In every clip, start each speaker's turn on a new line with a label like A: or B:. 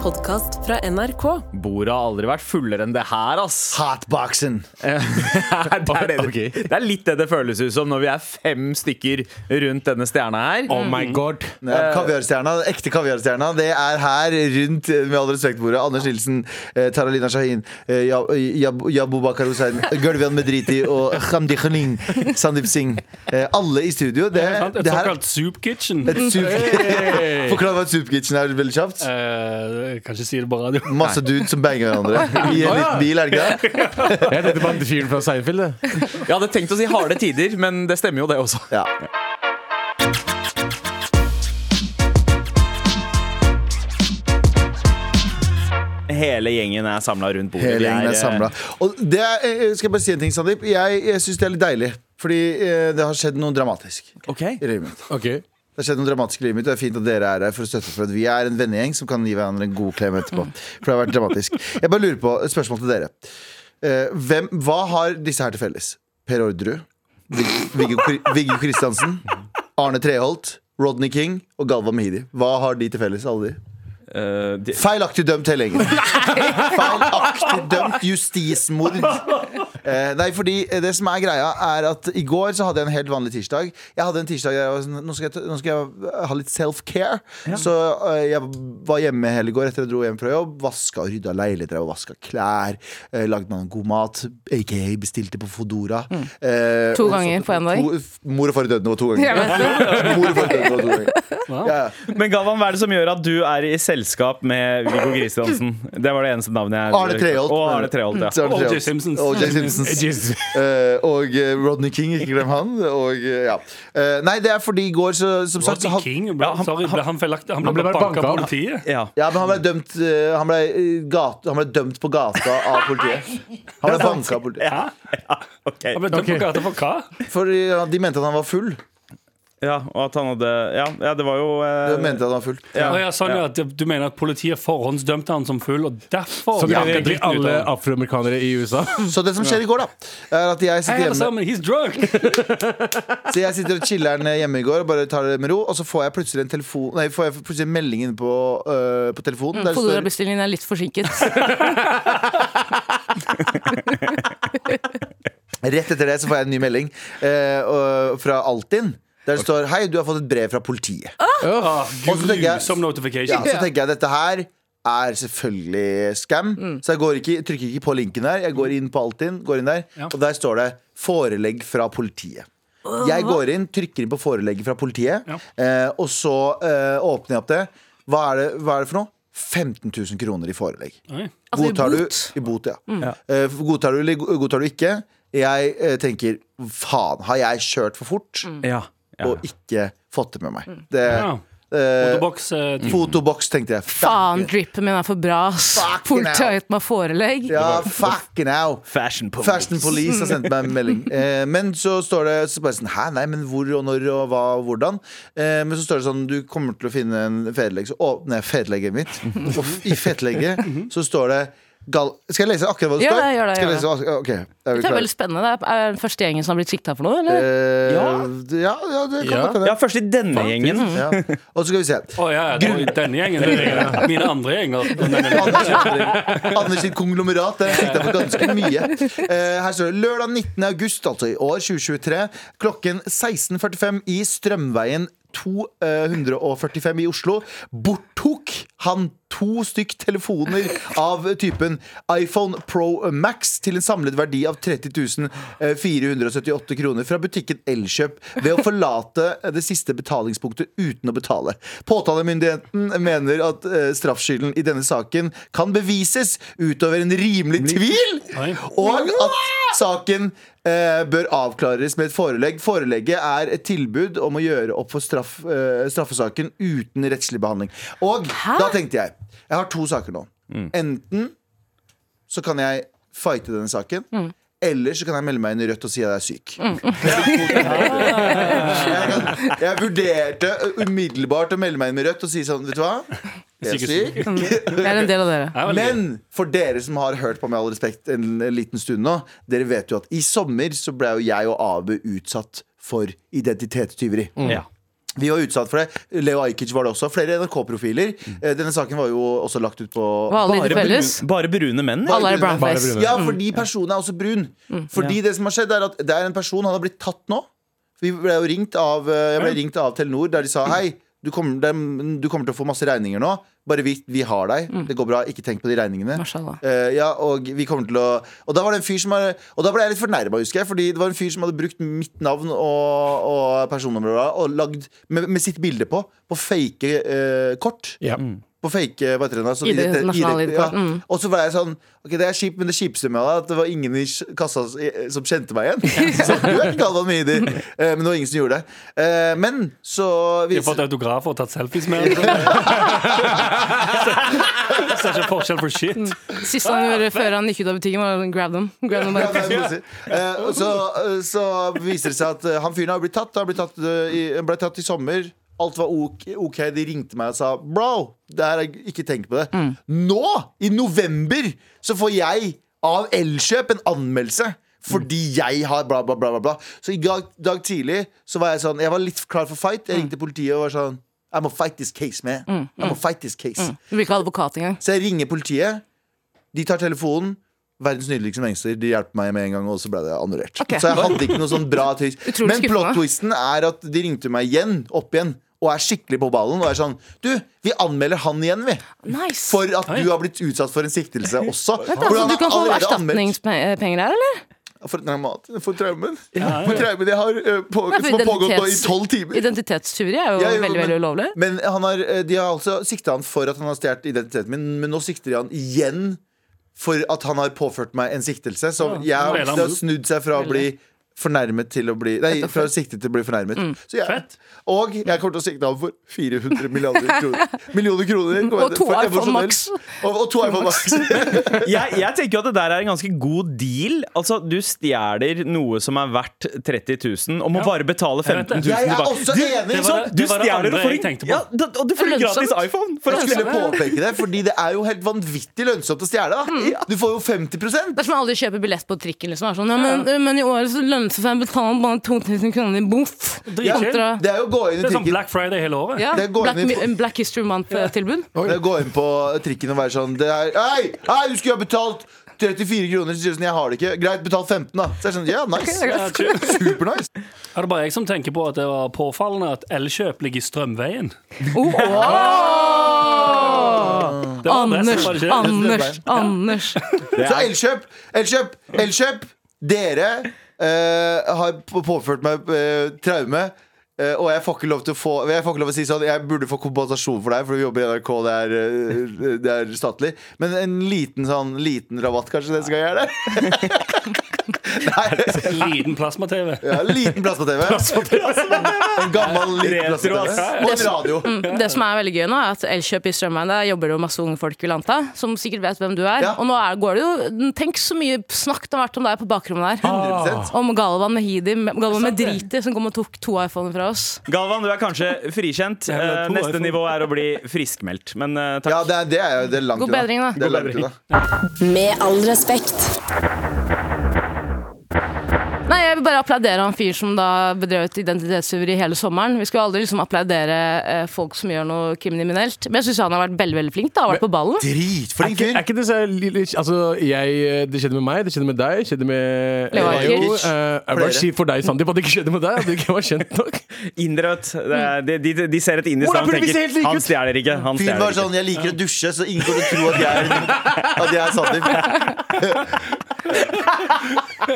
A: podkast fra NRK.
B: Bordet har aldri vært fullere enn det her, ass.
C: Hotboxen.
B: det, er det,
C: Ok.
B: det er litt det det føles ut som når vi er fem stykker rundt denne stjerna her.
D: Oh my god.
C: Ja, kaviarstjerna, den ekte kaviarstjerna, det er her rundt, eh, med all respekt, bordet. Anders Nilsen, eh, Taralina Shahin, eh, Yab- Yab- Yabubakar Hussein, Gulvian Medriti og Khamdi Khaling, Sandeep Singh. Eh, alle i studio. Det,
D: Sant? Et
C: det her
D: såkalt soup kitchen.
C: et soup
D: Hey.
C: Forklar hva et soupkitchen er, veldig kjapt.
D: Eh, jeg kan ikke si det på radio.
C: Masse dudes som banger hverandre i en liten bil, er det ikke det?
E: Jeg tenkte på han fyren fra Seinfeld. det.
B: Jeg hadde tenkt å si harde tider, men det stemmer jo, det også.
C: Ja.
B: Hele gjengen er samla rundt bordet.
C: Hele
B: Vi
C: gjengen er
B: eh,
C: samla. Og det er, eh, skal jeg bare si en ting, Sandeep. Jeg, jeg syns det er litt deilig. Fordi eh, det har skjedd noe dramatisk
B: Ok.
C: i livet mitt.
E: Ok.
C: Det har skjedd noe dramatisk i livet mitt, og det er fint at dere er her for å støtte for at vi er en vennegjeng som kan gi hverandre en god klem etterpå. For det har vært dramatisk. Jeg bare lurer på et spørsmål til dere. Eh, hvem, hva har disse her til felles? Per Orderud, Vig- Viggo Kri- Viggo Kristiansen, Arne Treholt, Rodney King og Galva Mehidi. Hva har de til felles, alle de?
B: eh, de,
C: Feilaktig dømt hele gjengen. Feilaktig dømt justismord. Eh, nei, fordi det som er greia, er at i går så hadde jeg en helt vanlig tirsdag. Jeg hadde en tirsdag der jeg var sånn Nå skal jeg, ta- nå skal jeg ha litt self-care. Så eh, jeg var hjemme hele går etter jeg dro hjem fra jobb. Vaska og rydda leiligheter, drev og vaska klær. Eh, lagde meg noe god mat. Aka bestilte på Fodora. Eh,
A: Mm. To
C: og så-
A: ganger på en dag?
C: To, mor og far i døden var to ganger. Mor og far i døden var to ganger. Ja, ja.
F: Men Galvan, hva er det som gjør at du er i selskap med Viggo Kristiansen? Det var det eneste navnet jeg
C: Arne Treholt. Mm.
F: Og Arne Treholt, ja.
C: Så er det
D: O.J.
C: Treholt.
D: Simpsons.
C: O.J. Simpsons.
E: Jesus.
C: Eh, og eh, Rodney King, ikke glem han. Og, eh, ja. Eh, nei, det er fordi i går, så, som sagt så
D: Rodney
C: had-
D: King ble, sorry, ble han, feilaktig, han ble,
E: Han ble bare
D: banka av
E: banka.
D: politiet.
F: ja.
C: ja, men han ble, dømt, eh, han, ble, eh, gat, han ble dømt på gata av politiet. Han ble banka av politiet.
F: Ja, ja, ok
D: Han ble dømt
E: Ok.
D: på gata for hva?
C: For eh, de mente at han var full.
F: ja, og at han hadde Ja, ja det var jo eh,
C: De mente at han var full
F: ja,
D: Å ja, sånn, ja. Du du mener at politiet forhåndsdømte han som full, og derfor
E: Som
D: ble
E: ja,
D: han
E: egentlig
D: dritt ut
E: alle
D: av-
E: afroamerikanere i USA.
C: Så det som skjer i går, da, er at jeg
D: Hei,
C: sitter
D: alle
C: hjemme
D: sammen, he's drunk!
C: Så jeg sitter og chiller'n eh, hjemme i går og bare tar det med ro, og så får jeg plutselig en, telefon, nei, får jeg plutselig en melding inne på, eh, på telefonen. der det står-
A: Fodorabestillingen er litt forsinket.
C: Rett etter det så får jeg en ny melding eh, og- fra Altinn. Der det står 'Hei, du har fått et brev fra politiet'.
D: Ah,
C: Og så tenker jeg-
D: Grusom
C: Ja,
D: notification.
C: så tenker jeg dette her er selvfølgelig scam. Så jeg går ikke, trykker ikke på linken der. Jeg går inn på Altinn, går inn der, og der står det 'forelegg fra politiet'. Jeg går inn, trykker inn på forelegget fra politiet,
D: Ja.
C: eh, og så eh, åpner jeg opp det. Hva er det, hva er det for noe? 15 000 kroner i forelegg.
D: Oi.
A: Altså, i
C: godtar
A: bot? Mm.
C: Du, I bot, ja. Eh, godtar du eller go- godtar du ikke? Jeg eh, tenker faen, har jeg kjørt for fort
A: Mm.
F: ja, ja.
C: og ikke fått det med meg? Det,
D: Ja.
C: eh,
D: Fotoboks, eh,
C: fotoboks, tenkte jeg.
A: Faen, drippen min er for bra. ass.
C: Fucking
A: Politiet har
C: hell.
A: gitt meg forelegg.
C: Ja, fucking hell.
F: Fashion police.
C: Fashion Police har sendt meg en melding. Eh, men så står det så bare sånn Hæ, nei, men hvor og når og hva og hvordan? Eh, men så står det sånn Du kommer til å finne en fedelegg. Så åpner jeg fedelegget mitt, og f- i fedelegget så står det gal Skal jeg lese akkurat hva det
A: Mhm. Gjør
C: står?
A: det, gjør det,
C: Skal jeg
A: gjør
C: lese, ak- ok, er vi
A: Det er
C: klare?
A: veldig spennende. Det er- er den første gjengen som har blitt sikta for noe, eller?
C: Eh, ja.
F: Ja.
C: ja, det kan
E: Ja.
C: godt hende.
F: Ja, først i denne gjengen.
C: Ja. Og så skal vi se.
D: Å ja, ja, det var jo denne gjengen. det er det. Mine andre gjenger. Men-
C: Anders, Anders sitt konglomerat. Der sikta for ganske mye. Eh, her står det lørdag 19. august, altså i år 2023, klokken 16.45 i Strømveien 245 i Oslo, borttok han to stykk telefoner av typen iPhone Pro Max til en samlet verdi av 30 478 kroner fra butikken Elkjøp ved å forlate det siste betalingspunktet uten å betale. Påtalemyndigheten mener at eh, straffskylden i denne saken kan bevises utover en rimelig tvil,
D: Oi.
C: og at saken eh, bør avklares med et forelegg. Forelegget er et tilbud om å gjøre opp for straff, eh, straffesaken uten rettslig behandling. Og da tenkte jeg Jeg har to saker nå. Enten så kan jeg fighte denne saken. Eller så kan jeg melde meg inn i Rødt og si at jeg er syk. jeg, kan, jeg vurderte umiddelbart å melde meg inn med Rødt og si sånn, vet du hva? Jeg er syk.
A: Det er en del av dere.
D: Det er veldig gøy.
C: Men for dere som har hørt på med all respekt en liten stund nå, dere vet jo at i sommer så ble jo jeg og Abu utsatt for identitetstyveri.
F: Ja.
C: Vi var utsatt for det. Leo Ajkic var det også. Flere NRK-profiler. Eh, Denne saken var jo også lagt ut på
A: Hva alle de til
F: brune,
A: felles?
F: Mm. bare brune menn? eller?
A: Alle er brownface.
E: brune.
C: Ja, fordi personen er også brun. Fordi det som har skjedd, er at det er en person han har blitt tatt nå. Vi ble jo ringt av, eh, jeg ble ringt av Telenor, der de sa hei. Du kommer, dem- du kommer til å få masse regninger nå. Bare vi, vi har deg. Det går bra. Ikke tenk på de regningene.
A: Mashallah.
C: Eh, ja, og vi kommer til å Og da var det en fyr som er, Og da ble jeg litt fornærma, husker jeg. Fordi det var en fyr som hadde brukt mitt navn og, og personnummer og- og lagd med, med sitt bilde på, på fake eh, kort
E: Ja.
C: på fake hva heter det, altså,
A: ID, Mm. nasjonale
C: ID,
A: ID-kort, mm.
C: Og så var jeg sånn Ok, det er kjipt, men det kjipeste med det er at det var ingen i s- kassa s- i- som kjente meg igjen. Så du er ikke Galvan Mehidi. Eh, Men det var ingen som gjorde det. Eh, Men så
D: De har
C: vis-
D: fått autografer og tatt selfies med ham. Ser ikke forskjell på shit.
A: Siste han gjorde før han gikk ut av butikken, var å grab them. Grab them
C: Ja,
A: bare.
C: det er morsomt. Eh, og så, eh, så viser det seg at eh, han fyren har blitt tatt. Han ble tatt, eh, i- han ble tatt i sommer. Alt var ok, ok. De ringte meg og sa Bro, det her er, ikke tenk på det. Nå, i november, så får jeg av Elkjøp en anmeldelse. Fordi jeg har bla, bla, bla. bla, bla. Så i dag, dag tidlig så var jeg sånn Jeg var litt klar for fight. Jeg ringte politiet og var sånn I må fight this case, man. I må fight this case.
A: Du blir ikke advokat engang.
C: Så jeg ringer politiet. De tar telefonen. Verdens nydeligste mennesker. De hjelper meg med en gang, og så ble det annullert.
A: Ok.
C: Så jeg hadde ikke noe sånn bra twist.
A: Utrolig
C: Men
A: skuffende.
C: plot-twisten er at de ringte meg igjen, opp igjen, og er skikkelig på ballen. Og er sånn Du, vi anmelder han igjen, vi.
A: Nice.
C: For at du har blitt utsatt for en siktelse også.
A: Vent, altså, du kan få erstatningspenger her, eller?
C: For, traumat, for traumen. For traumen jeg har, eh, på,
A: Nei, for
C: som har pågått nå i
A: identitets-
C: tolv timer.
A: Identitetstyveri er jo
C: Ja, jo,
A: veldig, veldig ulovlig.
C: Men han har, eh, de har altså sikta han for at han har stjålet identiteten min, men nå sikter de han igjen for at han har påført meg en siktelse. Så jeg,
D: Veldig.
C: det har snudd seg fra å bli fornærmet til å bli Nei, fra siktet til å bli fornærmet.
A: Mm.
C: Så jeg,
D: Fett.
C: og jeg kommer til å sikte ham for 400 milliarder kroner. Millioner kroner kommer
A: Og
C: jeg til-
A: to
C: for
A: iPhone
C: emosjonell-
A: Max.
C: Og, og to iPhone Max.
F: jeg, jeg tenker jo at det der er en ganske god deal. Altså, Du stjeler noe som er verdt 30 000, og må bare betale 15 000
C: Jeg er
F: tilbake.
C: også
F: Du-
C: enig. sånn,
F: det var
D: Så
F: det-
D: du
F: det var det
D: stjeler
F: andre
D: og får
F: jeg
D: en-
F: tenkte på.
D: Ja,
F: Ja, og du får en gratis
A: Lønnsomt.
F: iPhone! For
C: Jeg
F: at
C: skulle påpeke det, fordi det er jo helt vanvittig lønnsomt å stjele. da.
A: Mm.
C: Du får jo 50
A: Det er som alle de kjøper billett på trikken. Liksom. er Sånn, ja, men, men i året så lønner det seg å betale bare 2000 kroner i boff.
D: Dritchill.
A: Kontra
C: Det er jo å gå inn
D: Det
C: i
D: er sånn
C: trikken
D: Black Friday hele året.
A: ja,
C: det går
A: Black,
C: inn i-
A: Mi- Black History Month-tilbud.
C: Det er å gå inn på trikken og være sånn det er, Hei, hei, du skulle ha betalt 34 kroner. Så sier du sånn, jeg har det ikke. Greit, betal 15, da. Så er det sånn, ja, nice.
D: Ja, chill.
C: Supernice.
D: Er det bare jeg som tenker på at det var påfallende at Elkjøp ligger i Strømveien?
A: Oh,
D: Det var adressen,
A: Anders,
D: var det ikke det?
A: Anders, Anders.
C: Så Elkjøp, Elkjøp, Elkjøp. Dere eh, har på- påført meg eh, traume. eh, og jeg får ikke lov til å få Jeg får ikke lov til å si sånn Jeg burde få kompensasjon for deg, for vi jobber i NRK, det er, eh, det er statlig. Men en liten sånn Liten rabatt, kanskje, neste gang jeg er der? Nei,
D: Liten plasma-TV.
C: ja, liten plass på TV. altså. En gammel liten plass på
F: Retro,
C: TV.
F: ass.
C: Og en radio.
A: Det som er veldig gøy nå, er at Elkjøp i Strømveien, der jobber det jo masse unge folk, vil jeg anta, som sikkert vet hvem du er.
C: Ja.
A: Og nå er, går det jo Tenk så mye snakk det har vært om deg på bakrommet der.
C: 100%.
A: Om Galvan Mehidi, Galvan Medriti, som kom og tok to iPhoner fra oss.
F: Galvan, du er kanskje frikjent.
D: Jeg vil ha
F: Eh,
D: to
F: Neste
D: iPhone.
F: nivå er å bli friskmeldt. Men eh, takk.
C: Ja, det er, det er, jo- det er langt
A: God
C: unna.
A: bedring, da.
C: Det er langt unna.
G: Med all respekt.
A: Nei, jeg vil bare applaudere han fyren som da bedrev et identitetstyveri hele sommeren. Vi skal jo aldri liksom applaudere eh, folk som gjør noe kriminelt. Men jeg syns han har vært veldig veldig flink. da, har vært på ballen.
E: Er
C: Dritflink
E: ikke, er
C: fyr.
E: ikke det så lille, altså, jeg, Det skjedde med meg, det skjedde med deg, det skjedde med
A: Leo
E: Leo.
A: Ajkic.
E: Eh, jeg vil bare si for deg, Sandeep, at det ikke skjedde med deg. At du ikke var kjent nok.
F: Indere, vet du. Det er- De, de, de ser et indisk
E: Hvordan
F: navn og
E: burde vi se helt
F: tenker
E: like
F: han
E: ut?
F: stjeler ikke. Han
C: Fyren
F: stjeler
C: var
F: ikke.
C: sånn 'jeg liker å dusje', så ingen kommer til å tro at jeg er, at jeg er Sandeep.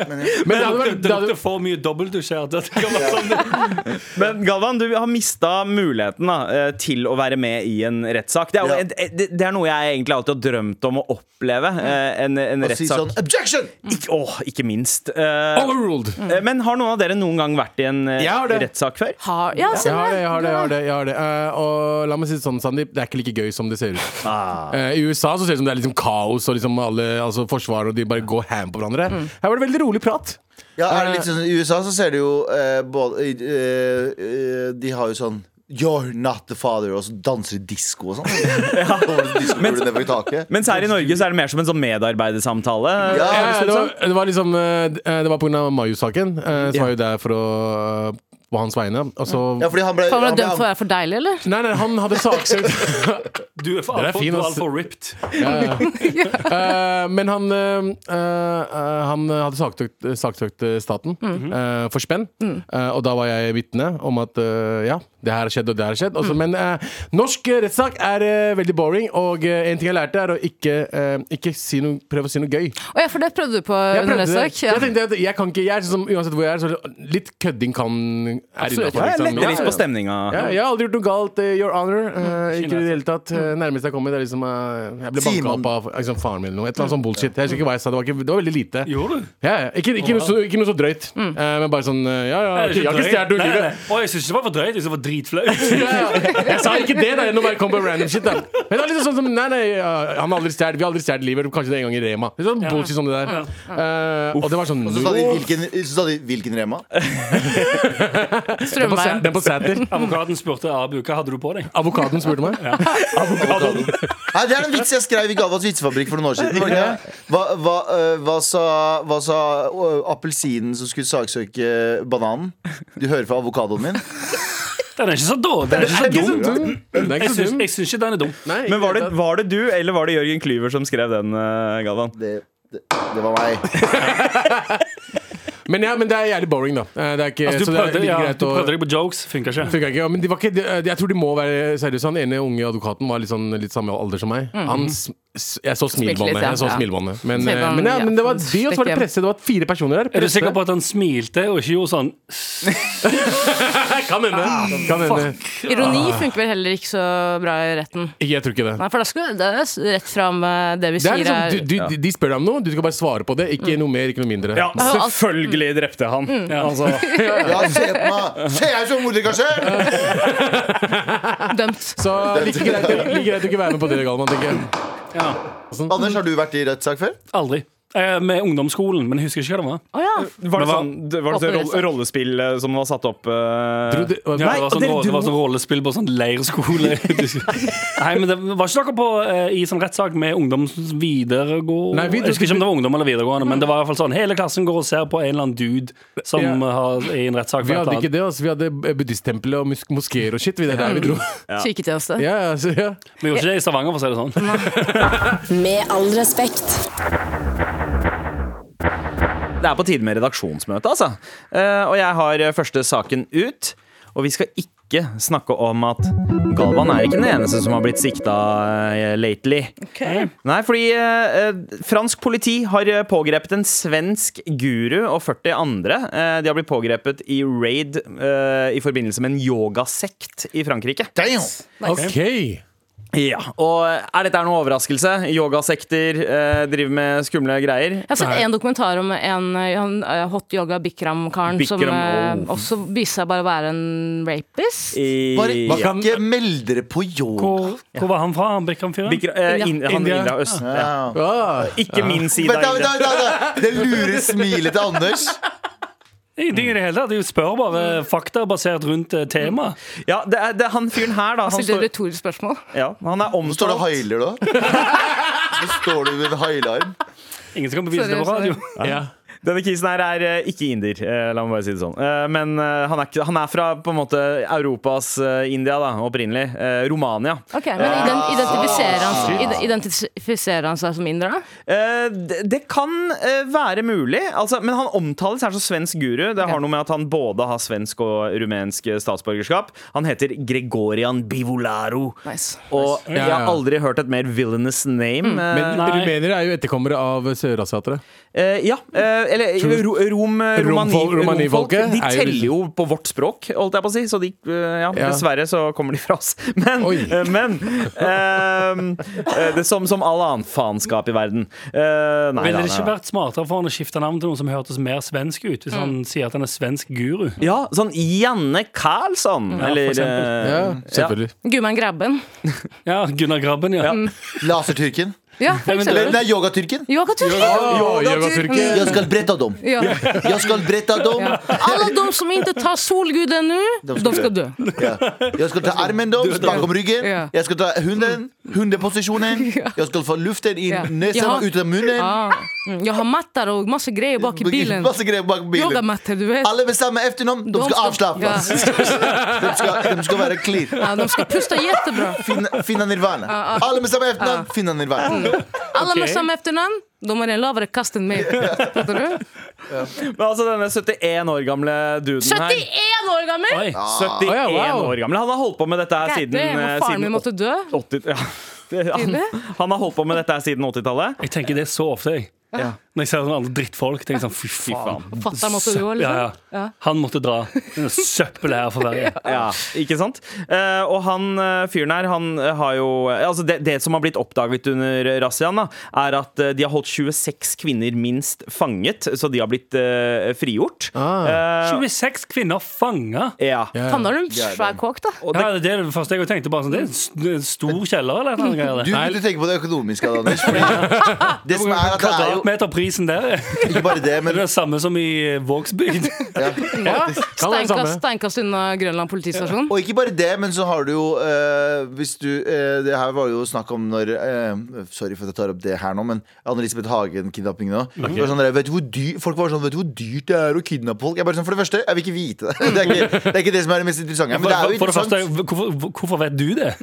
E: Men det
D: Det
E: hadde
D: lukter-
E: vært,
D: det
E: det hadde,
D: lukter for mye dobbeltdusj her. til at det kan være sånn.
F: Men Galvan, du har mista muligheten da, eh, til å være med i en rettssak. Det, er jo
C: Ja.
F: en- det, det er noe jeg egentlig alltid har drømt om å oppleve. eh, En, en
C: Og si
F: rettssak.
C: sånn 'objection'!
F: Ikke, åh, ikke minst. Eh,
E: Overruled!
F: eh, men har noen av dere noen gang vært i en eh,
E: Jeg har det.
F: rettssak før?
A: Har, ja, se
E: Jeg har det, jeg har det. jeg har
A: der.
E: det, jeg har det. Eh, og la meg si det sånn, Sandeep, det er ikke like gøy som det ser ut. Eh, I USA så ser det ut som det er liksom kaos, og liksom alle, altså forsvaret og de bare går ham på hverandre. Her var det veldig rolig prat.
C: Ja, er det litt sånn, I USA så ser du jo eh, både, eh, eh, De har jo sånn 'You're not the father', og så danser de disko og sånn.
F: Men-
C: Diskokule nedover taket.
F: Mens her i Norge så er det mer som en sånn medarbeidersamtale.
C: Ja,
E: Ja,
C: det
E: det, var, det var liksom eh, Det var pga. Mayu-saken. eh, Så
F: Ja.
E: var jo der for å på hans vegne. Og så
C: Ja, fordi han ble,
A: Kan man
C: han
A: være
C: ble
A: dømt for å være for deilig, eller?
E: Nei, nei, han hadde saksøkt
D: Du er for
E: Den er
D: altfor
E: fin,
D: du er
E: ass.
D: altfor ripped.
E: Eh, Men han, eh, eh, han hadde saksøkt, saksøkt staten eh, for spenn. Eh, og da var jeg vitne om at eh, ja, det her har skjedd og det her har skjedd. Også, Men eh, norsk rettssak er eh, veldig boring, og eh, en ting jeg lærte, er å ikke, eh, ikke si noe, prøve å si noe gøy.
A: Å ja, for det prøvde du på
E: Jeg,
A: under
E: prøvde det.
A: rettssak. Ja.
E: jeg tenkte at jeg kan ikke jeg er sånn som, Uansett hvor jeg er, så litt kødding kan er
A: Absolutt.
B: Ja,
E: innafor. liksom.
B: jeg letter litt på
E: ja,
B: stemninga.
E: ja, jeg har aldri gjort noe galt, eh, Your Honor. Eh, ikke i det hele tatt. Eh, nærmest jeg kommer, det er liksom eh, Jeg ble banka
C: Simon.
E: opp av liksom, faren min eller noe. Et eller annet sånn bullshit. Jeg husker ikke hva jeg sa. Det var, ikke, det var veldig lite.
D: Gjorde du?
E: Ja, ja. Ikke, ikke, noe, så, ikke noe så drøyt. Eh, men bare sånn eh, Ja, ja,
D: Er det
E: jeg
D: ikke
E: har ikke
D: drøyt?
E: stjålet noe i
D: Nei,
E: livet.
D: nei. Å, jeg syns ikke det var for drøyt. Jeg synes det var dritflaut.
E: Ja, ja. Jeg sa ikke det, da. Nå bare kom på random shit. Da. Men det var liksom sånn som Nei, nei, ja, han har aldri stjålet. Vi har aldri stjålet livet. Kanskje det er en gang i Rema. Litt sånn bullshit som det der. Eh, og det var sånn
C: Så sa de hvilken, så sa de, hvilken Rema?
E: Den på, Sæ-
A: Strømveien.
E: den på Sæter.
D: Advokaten spurte Abu hva hadde du på deg.
E: Avokadoen spurte meg.
C: Nei, det er en vits jeg skrev i Galvas vitsefabrikk for noen år siden. var det ikke det? Hva, hva, eh, hva sa, hva sa eh, appelsinen som skulle saksøke bananen? Du hører fra avokadoen min?
D: Den er ikke så, dårlig. den er ikke så dum.
E: Den er
D: Jeg
E: ikke så
D: syns,
E: dum.
D: jeg syns ikke den er dum.
E: Nei,
B: Men var
E: ikke
B: det,
E: helt.
B: var det du eller var det Jørgen Klyver som skrev den, eh, Galvan?
C: Det, det, det var meg.
E: men, ja, men det er jævlig boring, da. Eh, Det er ikke,
D: Altså, du,
E: så det er
D: prøvde,
E: like
D: ja,
E: greit
D: du
E: å-
D: prøvde deg på jokes, funka ikke.
E: Funker ikke, ja, men de var ikke, de, jeg tror de må være seriøse. Han ene unge advokaten var litt, sånn, litt samme alder som meg. Han, s- s- jeg så
A: litt,
E: smilebåndet.
A: ja.
E: Jeg så
A: Ja.
E: smilebåndet. Men, eh,
A: Smilebånd,
E: men, ja,
A: ja.
E: men det var de, og så var
A: Stikk hjem.
E: det presse. Det var fire personer der.
D: Er du
E: Presse.
D: sikker på at han smilte og ikke gjorde sånn
E: Kan hende. Kan hende.
A: Ironi funker vel heller ikke så bra i retten.
E: Ikke, Jeg tror ikke det.
A: Nei, for da skulle det er rett fram eh, det vi
E: det Mm. er
A: sier
E: liksom,
A: er
E: du, du, de spør deg om noe, du skal bare svare på det. Ikke noe mer, ikke noe mindre.
B: Ja,
D: Altså-
B: selvfølgelig drepte han.
D: Mm.
B: Altså,
C: Ja, se på meg! Ser jeg ut som morderkarsjer?
A: dømt.
E: Så like greit, like greit å ikke være med på det, Galvan. tenker jeg.
C: Anders, har du vært i rettssak før?
D: Aldri. Eh, med ungdomsskolen, men jeg husker ikke hva det var.
A: Å ja.
B: var det sånn, det var det sånn roll- rollespill eh, som var satt opp? eh,
E: Tror du-
D: Ja,
E: Nei,
D: det, var
B: og
D: sånn,
B: dere-
D: rå-
B: du
D: det var
B: må-
D: sånn rollespill på sånn leirskole. Nei, men det var ikke dere på eh, i sånn rettssak med ungdoms videregående
E: Nei, vi-
D: Jeg husker ikke om det var ungdom eller videregående, men det var i hvert fall sånn hele klassen går og ser på en eller annen dude som
E: Ja.
D: eh, har i en rettssak.
E: vi hadde
D: for et eller
E: ikke
D: annet.
E: det. Altså. Vi hadde buddhisttempelet og mos- moskeer og shit. Det er der vi dro.
A: Kirketjeneste.
E: Ja, ja, så, ja.
D: Vi gjorde ikke det i Stavanger, for å si det sånn.
H: Med all respekt.
B: Det er på tide med redaksjonsmøte, altså. Eh, og jeg har eh, første saken ut. Og vi skal ikke snakke om at Galvan er ikke den eneste som har blitt sikta eh, lately. Nei, fordi eh, eh, fransk politi har eh, pågrepet en svensk guru og 40 andre. Eh, de har blitt pågrepet i raid eh, i forbindelse med en yogasekt i Frankrike.
C: Damn!
E: OK.
B: Ja, Og eh, er dette noen overraskelse? Yogasekter eh, driver med skumle greier.
A: Jeg har sett en dokumentar om en eh, han, eh, hot yoga bikram-karen som eh,
B: Bikram, oh.
A: også viste seg bare å være en rapist.
B: I-
C: Bare
E: Hva kan-
C: ikke meld dere på yoga.
D: Hvor, hvor var han fra, han Bikram-fyren?
B: Bikra, eh, in, han
E: India.
B: Indra Øst. Ja.
C: Ja.
E: Ah.
B: Ikke min side
C: Vent, da,
B: av
C: vent, da,
B: Indra.
C: vent, da. Det lure smilet til Anders.
D: Ingenting i det hele tatt. De spør bare fakta basert rundt eh, tema.
B: Ja, det er, det er han fyren her, da. Han,
A: Stilte
B: står,
A: et retorisk spørsmål.
B: ja, han er
C: Nå står du og
B: omtalt.
C: hailer, da. Nå står du med en hailarm.
D: Ingen som kan bevise det på
A: Sorry,
D: radio.
E: Ja.
B: Denne kisen her er eh, ikke inder, eh, la meg bare si det sånn. Eh, Men eh, han er, ikke- han er fra på en måte Europas eh, India, da, opprinnelig. Eh, Romania.
A: Ok, Men ident identifiserer, han, ide- identifiserer han seg som indre? da?
B: Eh, Det det kan eh, være mulig, altså, men han omtales her som svensk guru. Det har noe med at han både har svensk og rumensk eh, statsborgerskap. Han heter Gregorian Bivolaro.
A: Nice.
B: Og jeg
E: Ja,
B: har
E: ja.
B: aldri hørt et mer villainous name. eh,
E: Men
D: Nei.
E: rumenere er jo etterkommere av sørasiatere.
B: Eh, ja, eh, eller
E: Tror-
B: ro, rom, eh, romani,
E: Romfol-
B: romfolk.
E: romanifolket
B: De
E: er jo
B: teller
E: liksom-
B: jo på vårt språk, holdt jeg på å si. Så de, eh, ja,
E: Ja.
B: dessverre så kommer de fra oss. Men,
E: Oi.
B: eh, men eh, eh, det, Som, som all annen faenskap i verden. Eh, nei,
D: Ville
B: da,
D: det ikke
B: nei, da.
D: vært smartere for han å skifte navn til noen som hørtes mer svensk ut, hvis han sier at han er svensk guru?
B: Ja, sånn Janne Karlsson,
D: for
B: eller
D: eksempel.
B: eh,
E: Ja, selvfølgelig.
A: Gummen Grabben.
D: Ja, Gunnar Grabben, ja.
C: Lasertyrken.
A: Ja, for
D: men
A: eksempel.
C: Nei, yogatyrken.
A: Yogatyrken.
C: Jeg skal brette dem.
A: Ja.
C: Jeg skal brette dem.
A: Ja. Alle de som ikke tar solguden nå,
C: De
A: de
C: skal
A: skal dø.
C: Ja. Jeg skal ta armen deres bakom ryggen.
A: Ja.
C: Jeg skal ta hunden, hundeposisjonen. Jeg skal få luften i
A: Ja.
C: nesen
A: Jaha.
C: og ut av munnen.
A: Ah. Mm, Jeg har matter og masse greier bak i bilen.
C: Masse greier bak bilen.
A: Yogamatter, du vet.
C: Alle med samme etternavn, de skal avslappes. De, skal- de skal være clear.
A: Ja. Ja, de skal puste kjempebra.
C: Finne, finne nirvana. Alle med samme etternavn, finne nirvana.
A: Alle med samme etternavn, de har en lavere kast enn meg. Fattar du?
B: Men altså denne 71 år gamle duden her
A: 71 år gammel!
D: Oi.
B: 71
E: Å, ja, wow.
B: år gamle. Han har holdt på med dette her
A: Gæren,
B: siden, eh,
A: faren min
B: siden
A: måtte dø.
B: 80 ja. Det- han,
A: Tidlig.
B: han har holdt på med dette her siden 80-tallet.
D: Jeg tenker det så ofte, jeg. Når jeg ser sånne andre drittfolk, tenker jeg sånn fy faen.
A: Og fatter'n måtte gå,
D: Ja,
A: liksom.
D: ja. Han måtte dra. Det er Søppel her for Sverige.
B: Ja, ikke sant? Eh, og han eh, fyren her, han eh, har jo eh, altså det, det som har blitt oppdaget under razziaen, da, er at eh, de har holdt 26 kvinner minst fanget, så de har blitt eh, frigjort. Eh,
D: 26 kvinner fanga.
B: ja.
A: Faen, da har du en svær kåk, da.
D: Ja, det er det første jeg tenkte. Bare sånn, det er en s- en stor kjeller, eller noe
C: Du
D: greier.
C: burde tenke på det økonomiske, Anders. fordi Det som er at det er jo
D: Kvadratmeterprisen der er
C: ikke bare det, men
D: det samme som i eh, Vågsbygd.
E: Ja, kan være det
A: Steinkast,
E: samme.
A: steinkast unna Grønland politistasjon.
C: Og ikke bare det, men så har du jo eh, Hvis du eh, Det her var jo snakk om når eh, Sorry for at jeg tar opp det her nå, men Anne-Elisabeth Hagen-kidnappingen òg.
D: Mm.
C: Sånn der, vet du hvor dyr- folk var sånn Vet du hvor dyrt det er å kidnappe folk? Jeg bare sånn, For det første, jeg vil ikke vite det. Det er ikke det, er ikke det som er det mest interessante. Men det er jo sånn-
D: For det
C: interessant.
D: første, hvorfor, hvorfor vet du det?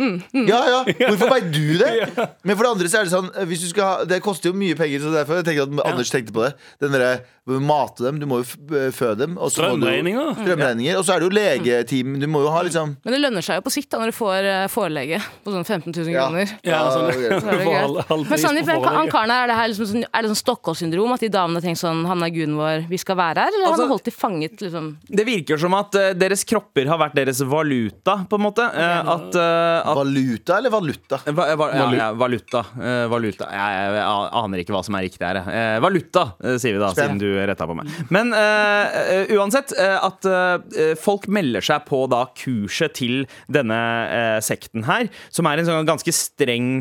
C: Ja, ja, Hvorfor veit du det? Men for det andre så er det sånn hvis du skal ha, Det koster jo mye penger, så derfor tenker jeg at Anders tenkte på det. Den derre mate dem, du må jo f- fø dem. og så må du-
D: Strømregninger.
C: Strømregninger. Og så er det jo legeteam. Du må jo ha liksom
A: Men det lønner seg jo på sikt da når du får eh, forelegge på sånn 15 000
C: Ja.
A: kroner.
D: Ja, sånn,
C: Ja, det
A: Så er
D: du
A: det
D: får
A: greit.
D: halv, halv
A: Men
D: pris
A: Sandeep,
D: på
A: er han
D: forlegget.
A: karen her, er det her liksom sånn, er det sånn Stockholm-syndrom? At de damene tenker sånn Han er guden vår, vi skal være her? Eller han
B: Altså-
A: har holdt de fanget, liksom?
B: Det virker som at eh, deres kropper har vært deres valuta, på en måte. Eh, at, eh, at
C: Valuta eller valuta?
B: Eh, Va, va, ja, ja, valuta. Eh, valuta. Jeg, jeg, jeg aner ikke hva som er riktig her. jeg. Eh, valuta, eh, sier vi da, siden
C: Spennende.
B: du retta på meg. Men eh, eh, uansett, eh, at eh, folk melder seg på da kurset til denne eh, sekten her, som er en sånn ganske streng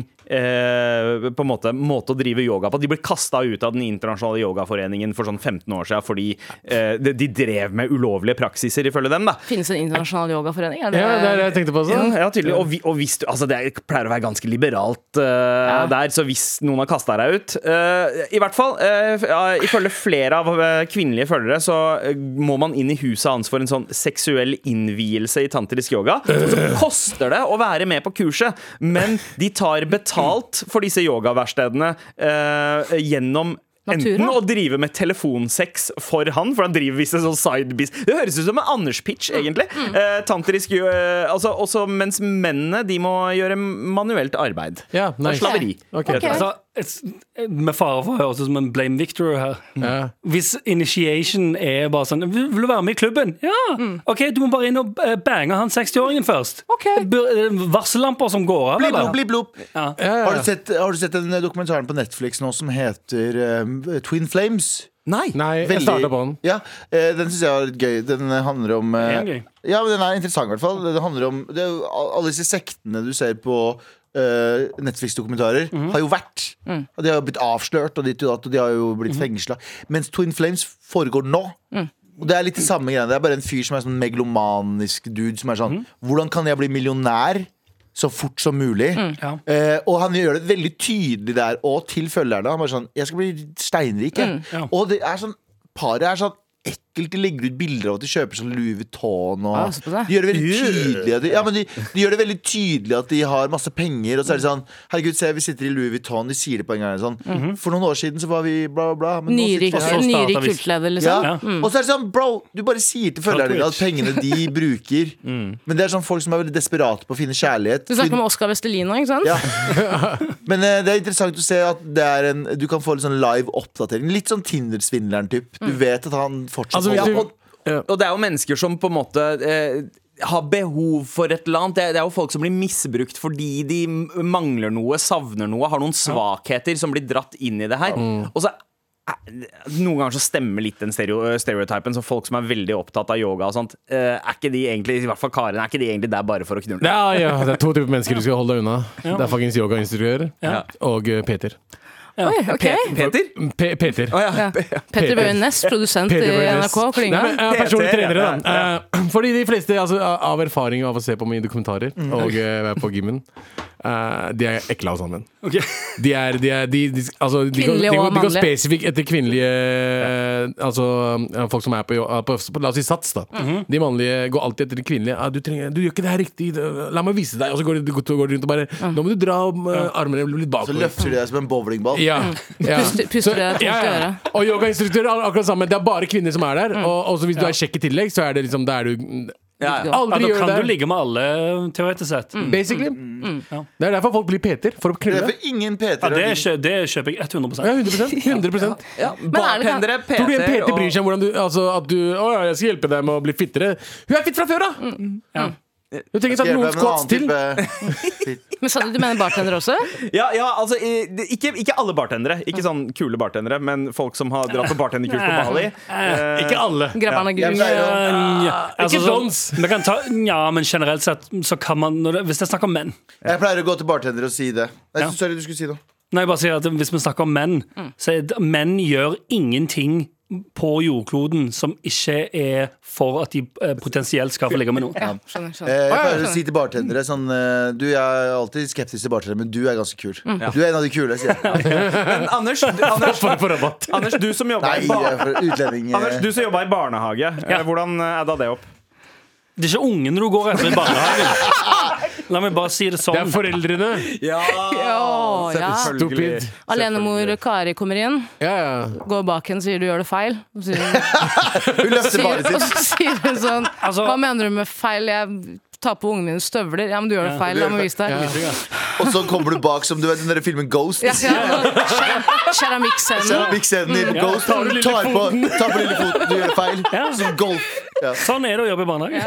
B: eh, på en måte, måte å drive yoga på. De ble kasta ut av Den internasjonale yogaforeningen for sånn 15 år siden fordi eh, de, de drev med ulovlige praksiser, ifølge dem. da
A: Finnes det en internasjonal yogaforening? Er det,
E: Ja, det er det jeg tenkte på også.
B: sånn. ja, ja, tydelig. Og, vi, og hvis du, altså det er- pleier å være ganske liberalt eh, der, så hvis noen har kasta deg ut eh, I hvert fall, eh, f- ja, ifølge flere av eh, kvinnelige følgere, så eh, må man inn i huset hans for en sånn seksuell innvielse i tantrisk yoga. Og så koster det å være med på kurset, men de tar betalt for disse yogaverkstedene eh, gjennom
A: Natura.
B: Enten å drive med telefonsex for han, for han driver visst en sånn sidebis. Det høres ut som en Anders-pitch, egentlig. Eh, tantrisk jo, eh, altså, Også mens mennene de må gjøre manuelt arbeid.
E: Ja, nice.
B: Slaveri.
E: Ok.
B: rett og slett.
D: Altså, et- med fare for å høres ut som en Blame Victor her.
E: Ja.
D: Hvis initiation er bare sånn Vil vil du være med i klubben? Ja!
E: Mm.
D: OK, du må bare inn og eh, bange han 60-åringen først.
A: Ok.
D: Bør- er det Varsellamper som går av,
C: Blipp,
D: eller?
C: blopp, blipp, blopp.
E: Ja, ja.
C: Har du, sett, har du sett den dokumentaren på Netflix nå som heter eh, Twin Flames?
B: Nei!
E: Nei, jeg starta på den.
C: Ja, eh, den syns jeg var litt gøy. Den handler om eh,
D: Er den gøy?
C: Ja, men den er interessant, i hvert fall. Den handler om det er, jo al- Alle disse sektene du ser på eh, Netflix-dokumentarer,
D: Mhm.
C: har jo vært.
D: Mm.
C: Og de har jo blitt avslørt, og, ditt og, datt, og de har jo blitt
D: Mhm.
C: fengsla. Mens Twin Flames foregår nå.
D: Mm.
C: Og Det er litt det samme greiene. Det er bare en fyr som er sånn megalomanisk dude som er sånn
D: Mhm.
C: Hvordan kan jeg bli millionær så fort som mulig?
D: Mm. Ja.
C: Eh, og han gjør det veldig tydelig der, og til følgerne. Han bare sånn Jeg skal bli steinrik, jeg.
D: Mm. ja.
C: Og det er sånn Paret er sånn ekkelt. De legger ut bilder av at de kjøper sånn Louis Vuitton og
A: Ja, se på det.
C: De gjør det veldig tydelig at de, ja, men de, de gjør det veldig tydelig at de har masse penger, og så er det sånn Herregud, se, vi sitter i Louis Vuitton, de sier det på en gang. Sånn.
A: Mhm.
C: For noen år siden så var vi bla, bla, bla. men nå sitter vi
A: Nyrik,
C: her."
D: så
A: nyrik
D: starter vi-
A: kultleder, liksom?
C: Ja. Og så er det sånn, bro, du bare sier til følgerne dine at pengene de bruker Men det er sånn folk som er veldig desperate på å finne kjærlighet.
A: Mm. Du snakker om Oskar Vestelino, ikke sant?
C: Ja. Men eh, det er interessant å se at det er en, du kan få litt sånn live oppdatering. Litt sånn Tinder-svindleren typ Du vet at han fortsatt
E: Altså, hvis
C: holder på.
E: du, ja.
B: Og det er jo mennesker som på en måte eh, har behov for et eller annet. Det er, det er jo folk som blir misbrukt fordi de m- mangler noe, savner noe, har noen svakheter som blir dratt inn i det her. Og så
F: eh, noen ganger så stemmer litt den stereo, eh, stereotypen. Så folk som er veldig opptatt av yoga og sånt, eh, er ikke de egentlig, i hvert fall Karen, er ikke de egentlig der bare for å knulle?
E: Ja, ja, det er to typer mennesker du skal holde deg unna. Det er fuckings yogainstruktør
D: Ja.
E: og eh, Peter.
A: Oi, ok.
F: Peter?
E: Pe- Peter.
A: Ja. Petter Bøe Næss, produsent i
E: Peter Bønes.
A: NRK,
E: Nei,
A: klinger.
E: men, eh,
F: PT,
E: personlige
F: ja.
E: trenere, da. Eh, fordi de fleste altså, av erfaring av å se på mine dokumentarer
C: Mm.
E: og eh, være på gymmen, eh, de er ekle alle sammen.
D: Ok.
E: De er, de er de, de, altså, de går, de
A: Kvinnelige og
E: går, de går
A: mannlige.
E: spesifikt etter kvinnelige eh, Altså eh, folk som er på, jo- eh, på, på La oss si Sats, da.
A: Mm-hmm.
E: De mannlige går alltid etter de kvinnelige. Ah, du, trenger, 'Du gjør ikke det her riktig, la meg vise deg.' Og så går de, går de rundt og bare
A: Ah.
E: 'Nå må du dra om, eh, armene litt
C: Så
E: bakover'.
C: løfter de deg som en bowlingball.
E: Ja, ja.
A: Puster- puster
E: Så-
A: det tungt i øret.
E: Og yogainstruktører er akkurat samme. Det er bare kvinner som er der.
D: Mm.
E: Og, og så hvis du er kjekk i tillegg, så er det liksom Da er du
D: Ja,
E: Aldri
D: da
E: gjør
D: kan du
E: det. Mm.
D: ligge Mm. med alle, teoretisk sett.
E: Basically. Det er derfor folk blir Peter. For
C: Mm.
E: å
C: Det er
E: knulle.
C: for ingen Peter
D: Ja, det, kjø det kjøper jeg 100
E: Ja, 100, 100%.
A: Men er det kan-
F: Bartendere,
E: Tror du en
F: Peter
E: Peter
F: og
E: bryr seg om hvordan du Altså at du Å ja, jeg skal hjelpe deg med å bli fittere. Hun er fitt fra før,
D: Mm.
E: da! Du trenger ikke
C: Mm. Skal
E: ta noen squats til.
C: hjelpe deg med en annen type-
A: Men sa du du mener bartender også?
F: Ja, ja altså i- det- ikke, ikke alle bartendere. Ikke sånn kule bartendere, men folk som har dratt på bartenderkurs på Bali.
D: Eh, Ikke alle.
A: Grabber'n og
C: Jeg
A: Gud.
C: pleier å-
D: Nja, altså,
E: ikke
D: så-
E: dans.
D: vi kan ta- Nja, men generelt sett så kan man når det, Hvis jeg snakker om menn
C: Jeg pleier å gå til bartender og si det. Nei,
D: Ja.
C: Sorry, du skulle si noe.
D: Nei, jeg bare sier at Hvis vi snakker om menn,
E: Mm.
D: så er det, menn gjør ingenting på jordkloden som ikke er for at de eh, potensielt skal få ligge med noen.
A: Skjønner,
C: Eh,
A: skjønner.
C: Jeg pleier å si til bartendere sånn eh, Du, jeg er alltid skeptisk til bartendere, men du er ganske kul. Du er en av de kule, sier jeg.
F: Men Anders, Anders,
E: For, for rabatt.
F: Anders, du som jobber
C: Nei,
F: i,
C: jeg
F: bar
C: er for utlending. eh.
F: Anders, du som jobber i barnehage, eh,
D: Ja.
F: hvordan eh, adda det opp?
D: Det er ikke ungene du går etter i barnehagen. La meg bare si det sånn.
E: Det
C: Mm.
E: er foreldrene.
F: Ja,
A: Ja, ja.
E: Stupid.
A: Alenemor Kari kommer inn,
E: Ja, ja.
A: går bak henne, sier du gjør det feil. Og så sier,
C: Hun løfter
A: sier,
C: bare
A: og
C: sitt.
A: så sier hun sånn
D: Altså-
A: Hva mener du med feil? Jeg tar på ungene mine støvler. Ja, men du gjør det feil. La meg vise deg.
C: Og så kommer du bak som du vet når filmen Ghost.
A: Ja, ja. Keramikkscenen.
C: Keramikkscenen i
E: Mm.
C: Ghost tar,
E: lille
C: på, tar på lille foten, du gjør feil. Som golf. Ja.
D: Sånn er det å jobbe i barnehage.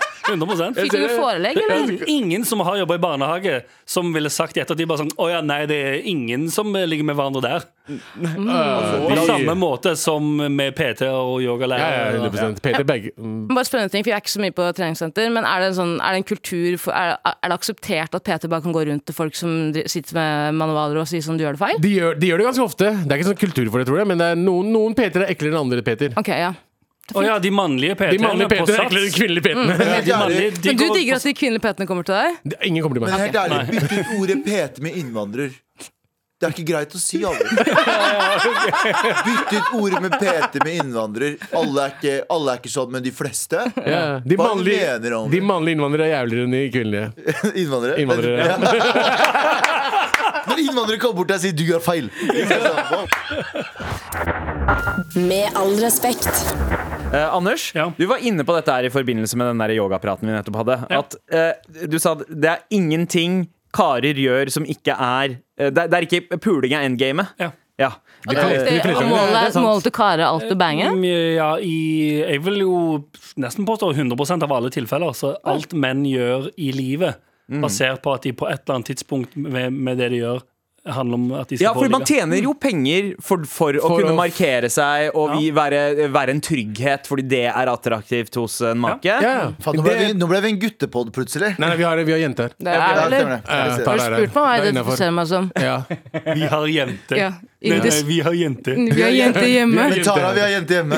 D: 100
A: Fikk du noe forelegg, eller?
D: Ingen som har jobba i barnehage, som ville sagt i ettertid bare sånn Å ja, nei, det er ingen som ligger med hverandre der. Mm. På samme måte som med PT og
E: Ja, ja,
D: yogalærere.
E: 100 Peter begge Mm.
A: Jeg må Bare spørre en ting, for Jeg er ikke så mye på treningssenter, men er det en, sånn, er det en kultur for, er, er det akseptert at PT bare kan gå rundt til folk som dri- sitter med manualer og sier sånn, du gjør det feil?
E: de gjør, de gjør det ganske ofte. Det er ikke sånn kultur for det, tror jeg. Men det er noen, noen Peter er eklere enn andre Peter.
A: Ok, ja
D: Å ja, de mannlige
E: De
D: PT-ene
E: mannlige
D: på
E: Peter er eklere enn de
D: sats.
E: kvinnelige Peterne.
C: Helt ærlig,
D: Mannlige, de
A: Men du
D: går
A: digger
D: på-
A: at de kvinnelige PT-ene kommer til deg?
E: Det- Ingen kommer til
C: men
E: meg.
C: helt ærlig, bytt ut ordet PT med innvandrer. Det er ikke greit å si, alle. Bytt ut ordet med PT med innvandrer. Alle er ikke, alle er ikke sånn, men de fleste
E: Ja. De,
C: Hva
E: mannlige,
C: mener du om
E: de
C: det?
E: mannlige innvandrere er jævligere enn de kvinnelige.
C: innvandrere.
E: Innvandrere.
C: Ja. Når innvandrere kommer bort og sier 'du gjør feil', så er det sånn, wow.
G: Med all respekt.
F: Eh, Anders,
D: Ja.
F: du var inne på dette her i forbindelse med den der yogapraten vi nettopp hadde.
D: Ja.
F: At eh, Du sa at det er ingenting karer gjør som ikke er eh, det, er- det er ikke puling er endgamet.
D: Ja.
F: Ja.
E: De fleste- de fleste-
A: Og målet er målet til Kare alt du banger?
D: Mm, Ja, i, jeg vil jo nesten påstå 100 av alle tilfeller. Så alt menn gjør i livet,
E: Mm.
D: basert på at de på et eller annet tidspunkt med, med det de gjør, handler om at de
F: Ja,
D: skal få
F: fordi man
D: ligge.
F: tjener jo penger for, for, å
E: Altså, For
F: kunne
E: å-
F: markere seg og vi være, være en trygghet, fordi det er attraktivt hos en make.
E: Ja.
C: Faen, nå, ble vi,
E: Det-
C: nå ble vi en guttepod plutselig.
E: Nei, nei, vi har, vi har jenter.
A: Det er
C: Ja,
A: vel
C: stemmer det. Ja,
E: Eh,
C: vi ser
E: tar
C: det.
A: Har du
E: der,
A: spurt meg hva
E: der
A: jeg
E: innenfor.
A: identifiserer meg som?
E: Ja.
D: Vi har jente.
A: Ja,
D: Nei, nei,
A: indisk.
D: vi har jente.
A: Vi har jente hjemme.
C: Men Tara, vi har jente hjemme.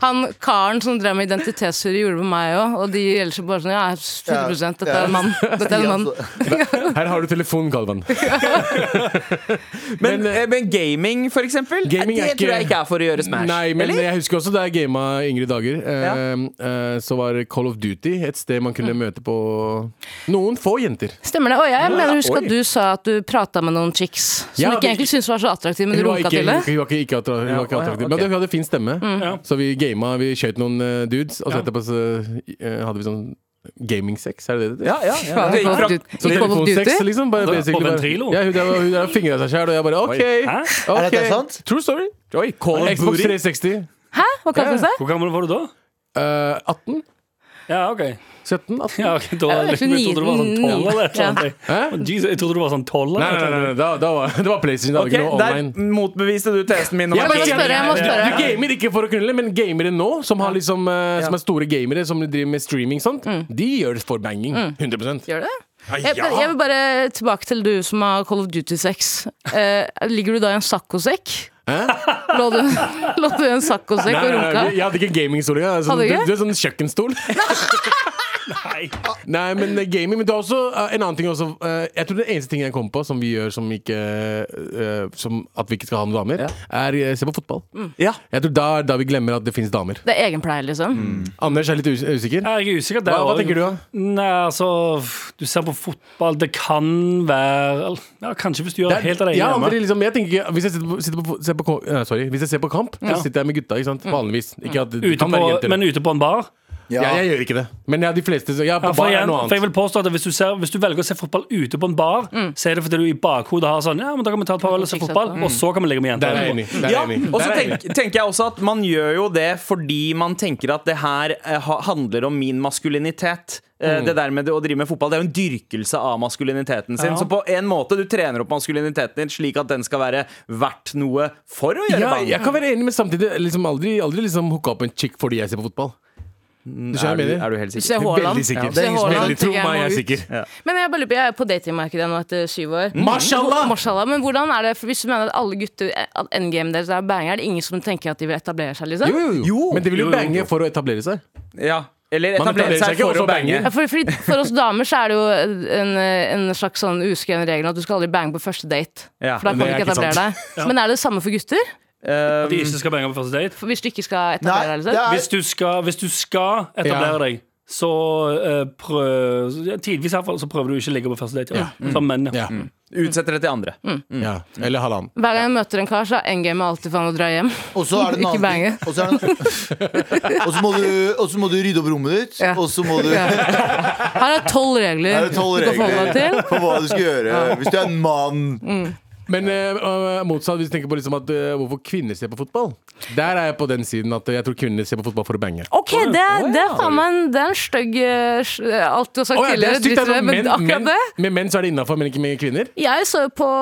A: Han karen som drev med identitetstyre, gjorde det med meg òg. Og de gjelder seg bare sånn Ja, 100 dette er en mann. Dette er sånn- en
C: altså.
A: mann.
E: Her har du telefonen, Galvan.
F: Men, eh, men gaming, for eksempel, eh,
E: Gaming
F: det
E: er
F: tror
E: ikke-
F: jeg ikke er for å gjøre Smash.
E: Nei, men
F: eller?
E: jeg husker også da jeg gama yngre dager. eh, eh, så var Call of Duty et sted man kunne møte på noen få jenter.
A: Stemmer det. Og jeg mener, husk
E: Oi.
A: at du sa at du prata med noen chicks som
E: Ja,
A: du ikke
E: men-
A: egentlig syntes var så attraktive, men du
E: Hun var
A: runka
E: ikke,
A: til det.
E: hun var ikke, ikke attra- hun var ikke
F: Ja, å ja,
E: attraktiv,
F: ok.
E: men hun hadde fin stemme. Så vi gama, vi skjøt noen eh, dudes, og så etterpå så, eh, hadde vi sånn gaming-sex. Er det det det?
F: Ja, ja, ja.
A: Fra- fra-
F: Fra-
E: Så
A: Gikk Call of
E: telefonsex,
A: Duty?
E: liksom. Bare,
D: Da-
E: basically
D: på
E: bare-
D: Ventrilo?
E: Ja, hun der, hun der fingra seg sjæl, og jeg bare OK.
D: Hæ?
E: ok.
C: Er dette sant?
E: True story.
F: Oi, Call of
E: Xbox
F: Duty.
E: 360.
A: Hæ? Hva kalte hun seg?
D: Hvor gammel var du da?
E: eh, 18?
D: Ja, ok.
E: 17? 18?
D: Ja, ok, da,
A: Jeg er
D: jeg trodde det var sånn 12 eller et eller annet.
E: Hæ?
D: Jesus, jeg trodde det var sånn 12
E: Nei, nei, nei,
D: eller et eller
E: nei,
D: annet.
E: nei. Da, da var, det var PlayStation. Det var ikke
B: Ok,
E: noe
B: Der
E: online.
B: motbeviste du testen min. om
E: Jeg
B: at
A: må
E: bare
B: gaming
A: spørre, jeg må
B: er-
E: Du
A: spørre.
E: du gamer ikke for å knulle, men gamere nå, som, har liksom, eh, som er store gamere, som driver med streaming, sånt, de gjør det for banging. 100
A: Gjør det?
E: ja.
A: Jeg, jeg vil bare tilbake til du som har Call of Duty 6. Eh, ligger du da i en saccosekk? Lå du, lå du i en saccosekk
E: Nei,
A: og
E: nei,
A: runka?
E: nei, jeg hadde ikke gamingstol. Jeg hadde sånn,
A: Hadde du
E: du,
A: ikke?
E: du er sånn kjøkkenstol. Nei, men eh, gaming. Men det er også eh, en annen ting også. eh, jeg tror det eneste ting jeg kom på som vi gjør som ikke eh, Som at vi ikke skal ha noen damer, er eh, se på fotball.
B: Ja.
E: Jeg tror da er da vi glemmer at det finnes damer.
A: Det er egenpleie, liksom.
E: Mm. Anders er litt us usikker.
D: Ja, Jeg er usikker der
E: Hva, hva
D: også.
E: tenker du, da?
D: Nei, altså f- Du ser på fotball, det kan være ja, Kanskje hvis du gjør det helt
E: Det
D: av
E: er-
D: deg
E: jeg har
D: hjemme.
E: aldri liksom, jeg tenker, ikke- hvis jeg sitter på, sitter på, ser på, ko- eh, sorry, hvis jeg ser på kamp, så sitter jeg med gutta. Ikke sant? Vanligvis. Ikke at, det
D: Ute
E: kan
D: på,
E: være jenter.
D: men ute på en bar.
E: ja. jeg, gjør ikke det. Men ja, de fleste så, ja, på
D: Ja, for,
E: bar er
D: igjen,
E: noe
D: for jeg
E: annet.
D: vil påstå at hvis du, ser, hvis du velger å se fotball ute på en bar, så er det fordi du i bakhodet har sånn Ja, men da kan vi ta et par øl og se
A: Fikse det,
D: fotball,
A: mm.
D: og så kan vi ligge med
E: Der
D: jenter.
E: er jeg enig. Der er jeg
B: Ja,
E: enig.
B: og så
E: Der er jeg enig.
B: tenk, tenker jeg også at man gjør jo det fordi man tenker at det her eh, ha- handler om min maskulinitet.
E: Mm.
B: Eh, Det der med det å drive med fotball Det er jo en dyrkelse av maskuliniteten sin.
D: Ja.
B: Så på en måte du trener opp maskuliniteten din slik at den skal være verdt noe for å gjøre
E: Ja,
B: bang.
E: jeg kan være enig, men samtidig liksom aldri, aldri liksom hooka opp en chick fordi jeg ser på fotball. Mm, Du skjønner hva
B: er,
E: jeg
B: du,
E: mener?
B: er du helt
A: Se
B: sikker?
A: Haaland.
E: sikker.
A: Se Haaland.
E: Veldig, tro
A: tenker
E: meg, jeg er
A: må ut.
E: sikker.
A: Men jeg bare lurer på, jeg er på datingmarkedet nå etter syv år.
E: Mashallah!
A: Mashallah, Men hvordan er det, for Hvis du mener at alle gutter At endgame deres er banger, er det ingen som tenker at de vil etablere seg? liksom?
E: Jo, jo, jo.
B: Jo.
E: Men de vil
D: Jo,
E: jo
D: jo,
E: bange
D: jo.
E: for å etablere seg.
B: Ja. Eller
E: Man
B: etablere
E: etablerer seg
B: seg
E: ikke
B: for
E: også
B: å bange.
E: banger.
A: Ja, for, fordi for oss damer så er det jo en, en slags sånn uskreven regel at du skal aldri bange på første date.
B: Ja,
A: for da kan
E: det
A: du
E: er
A: ikke
E: ikke
A: etablere deg. Men er det det samme for gutter?
B: Eh,
D: At de ikke skal bange på første date.
A: For Hvis du ikke skal
C: Nei,
A: etablere deg?
C: det
A: Liksom?
C: er
D: Hvis du skal, hvis du skal etablere
E: Ja.
D: deg, så eh, prøv ja, Tidvis i hvert fall, så prøver du ikke å ligge på første date. Ja. Som menn, ja.
E: Ja.
A: Mm,
B: utsetter det til andre.
E: Ja. Eller halvannen.
A: Hver gang jeg møter en kar, så er endgame alltid faen å dra hjem.
C: Og så er det en annen ting.
A: Ikke bange.
C: Og så er det en- Og så må, du- og så må du rydde opp rommet ditt,
A: Ja.
C: og så må du
A: Her er tolv regler,
C: Her er det tolv
A: du kan forholde deg til.
C: regler for hva du skal gjøre hvis du er en mann.
E: Men eh, øh, motsatt, hvis du tenker på liksom at, eh, hvorfor kvinner ser på fotball Der er jeg på den siden at eh, jeg tror kvinner ser på fotball for å bange.
A: Ok, det, det er faen meg en, det er en stygg eh, s- Alt du har sagt
E: Å ja, det er
A: tidligere,
E: stygt, det
A: driter
E: er
A: i det,
E: sånn
A: men
E: menn-
A: akkurat det
E: menn- Med menn så er det innafor, men ikke med kvinner.
A: Jeg så jo på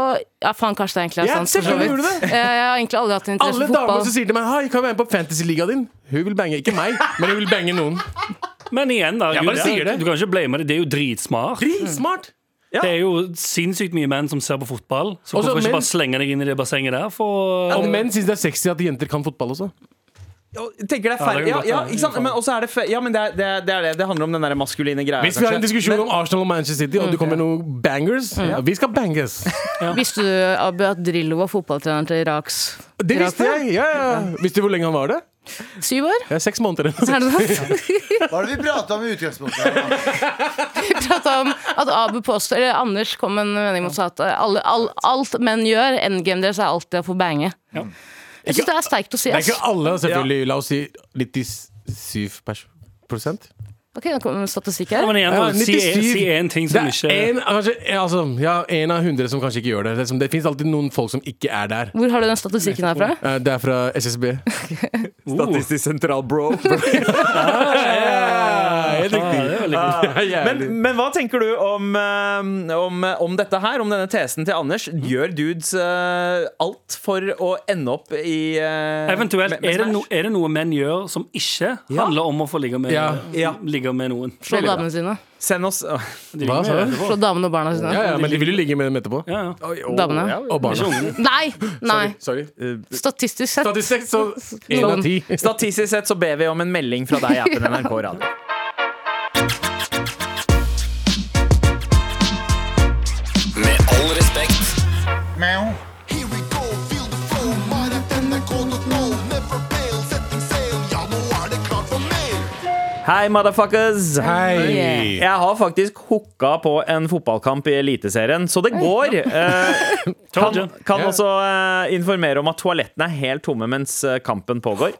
A: Ja, faen, kanskje det egentlig er
E: Ja,
A: sant. for så
E: selvfølgelig
A: vidt.
E: gjorde du
A: Eh, Jeg har egentlig aldri hatt en interesse
E: Alle
A: for
E: damer
A: fotball.
E: som sier til meg 'Hei, kan jeg være med på fantasyligaen din?' Hun vil bange. Ikke meg, men hun vil bange noen.
D: Men igjen, da.
E: Jeg
D: Gud,
E: bare sier det.
D: Du kan ikke blame det. Det er jo dritsmart.
E: Smart!
D: Det er jo sinnssykt mye menn som ser på fotball. Så
E: Også
D: hvorfor ikke
E: menn-
D: bare slenge deg inn i det bassenget der? For,
E: Og menn syns det er sexy at jenter kan fotball også.
B: Og tenker det er
D: Ja, det
B: færre
D: kan
B: Ja,
D: godt
B: ja,
D: være.
B: ikke sant? Men også er det fe- Ja, men det er det, er- det er det. Det handler om den der maskuline greia.
E: Hvis vi har en
B: kanskje.
E: diskusjon
B: Men-
E: om Arsenal og Manchester City, og du kommer med noen bangers Mm, ja, Vi skal banges!
A: Visste du, Abu, at Drillo var fotballtreneren til Iraks
E: Det
A: Irak
E: visste jeg! Ja, ja. Visste du hvor lenge han var det?
A: syv år?
E: Det er seks måneder.
A: Er det sant?
C: Hva er det vi prata om i utgangspunktet? her, da?
A: At, han, sånn at Abu påstår Eller Anders kom med en mening mot seg at alle, all, alt menn gjør, endgame deres er alltid å få bange.
D: Ja.
A: Jeg syns det er sterkt å si.
E: Det er
A: Ass.
E: ikke alle, selvfølgelig. La oss si 97 pers- prosent.
A: Ok, nå kommer en statistikk
D: Ja,
A: her.
D: men igjen, da,
E: Ja,
D: si,
E: 97.
D: si en ting
E: Det
D: som
E: er
D: ikke
E: en, kanskje, ja, altså, ja, en av hundre som kanskje ikke gjør det. Det, er som- det fins alltid noen folk som ikke er der.
A: Hvor har du den statistikken her fra?
E: Eh, Det er fra SSB.
D: Uh.
B: Statistisk sentral, bro.
E: Ah, Helt
D: Ja, det er veldig godt.
B: Men, men hva tenker du om, eh, om, om dette her, om denne tesen til Anders?
D: Mm.
B: Gjør dudes eh, alt for å ende opp i eh,
D: Eventuelt,
B: med- med
D: er det,
B: Smash?
D: no, er det noe menn gjør som ikke handler om å få ligge med,
E: Ja.
B: Ja.
D: ligge med noen?
A: Slå damene sine.
B: Send oss
D: De
E: Hva
D: ligger
E: sa
D: med
E: du?
D: etterpå.
A: Slå damene og barna sine.
E: ja, ja, men de vil jo ligge med dem etterpå.
D: Ja, ja. Sånn.
A: Damene.
E: Og barna.
D: Ikke ungene.
A: Nei! Nei.
E: Sorry. sorry.
A: Statistisk sett.
E: Statistisk så én av ti.
B: Statistisk sett så ber vi om en melding fra deg i appen NRK Radio.
I: Med all respekt.
B: Hei, motherfuckers!
A: Oh, Hei.
B: Jeg har faktisk hooka på en fotballkamp i Eliteserien, så det går. Eh,
D: you.
B: kan kan
E: Ja.
B: også eh, informere om at toalettene er helt tomme mens eh, kampen pågår.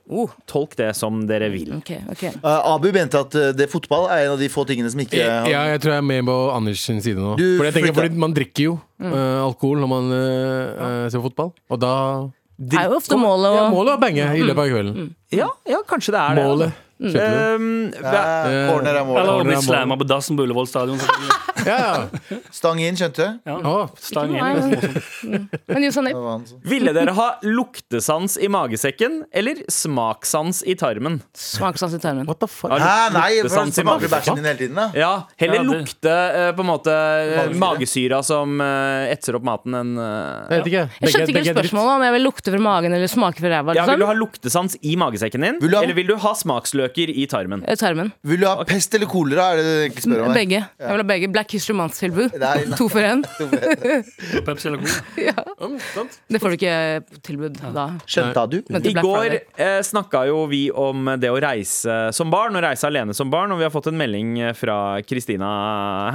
B: Tolk det som dere vil.
A: Ok, ok.
C: Eh, Abu mente at eh, det fotball er en av de få tingene som ikke
E: Ja, jeg tror jeg er med på Anders sin side nå.
C: Du
E: Fordi jeg tenker,
C: flytta-
E: fordi Man drikker jo
A: Mm.
E: eh, alkohol når man eh, eh, ser fotball, og da
A: Det er jo ofte målet
E: ja,
A: å Mm.
E: Målet er å bange i løpet av kvelden.
B: Ja, ja kanskje det er det.
E: Målet. Skjønte du?
B: Um, hva-
E: Eh,
C: Ordner deg
D: Eller
C: mål.
D: om vi slammer på dassen på Ullevål stadion. selvfølgelig.
A: Mm.
E: Ja, ja.
C: Stang inn, skjønte du?
D: Ja.
E: Å,
D: Stang
A: Nei,
D: inn.
A: men- Men jo, sånn,
C: Det var han som-
B: ville dere ha luktesans i magesekken eller smakssans i tarmen?
A: smakssans sånn i tarmen.
E: what the fuck?
B: Har du
C: Hæ, nei, for han
B: luktesans i
C: smaker
B: magesekken?
C: bæsjen din hele tiden, da.
B: Ja, heller
D: Ja, det-
B: lukte eh, på en måte eh,
C: Magesyre.
B: magesyra som eh, etser opp maten enn eh,
E: Jeg vet ikke.
A: Jeg skjønte
E: Begge-
A: ikke
E: begge er dritt.
A: spørsmålet om jeg vil lukte fra magen eller smake fra ræva.
B: ja, Vil du
A: Liksom.
B: ha luktesans i magesekken din,
C: Vil du ha-
B: eller vil du ha smaksløker i tarmen?
A: Eh, Tarmen.
C: Vil du ha pest eller kolera? Er det det du egentlig spør om? her?
A: Begge. Jeg vil ha begge. Black History Month-tilbud.
C: Nei, nei.
A: To for én.
D: Pepsi eller Cola.
E: Mm, sant.
A: Det får du ikke eh, tilbud da.
C: Skjønte du?
A: Men
B: I
A: til Black
B: går
A: Friday.
B: eh, snakka jo vi om det å reise som barn, og reise alene som barn, og vi har fått en melding eh, fra Kristina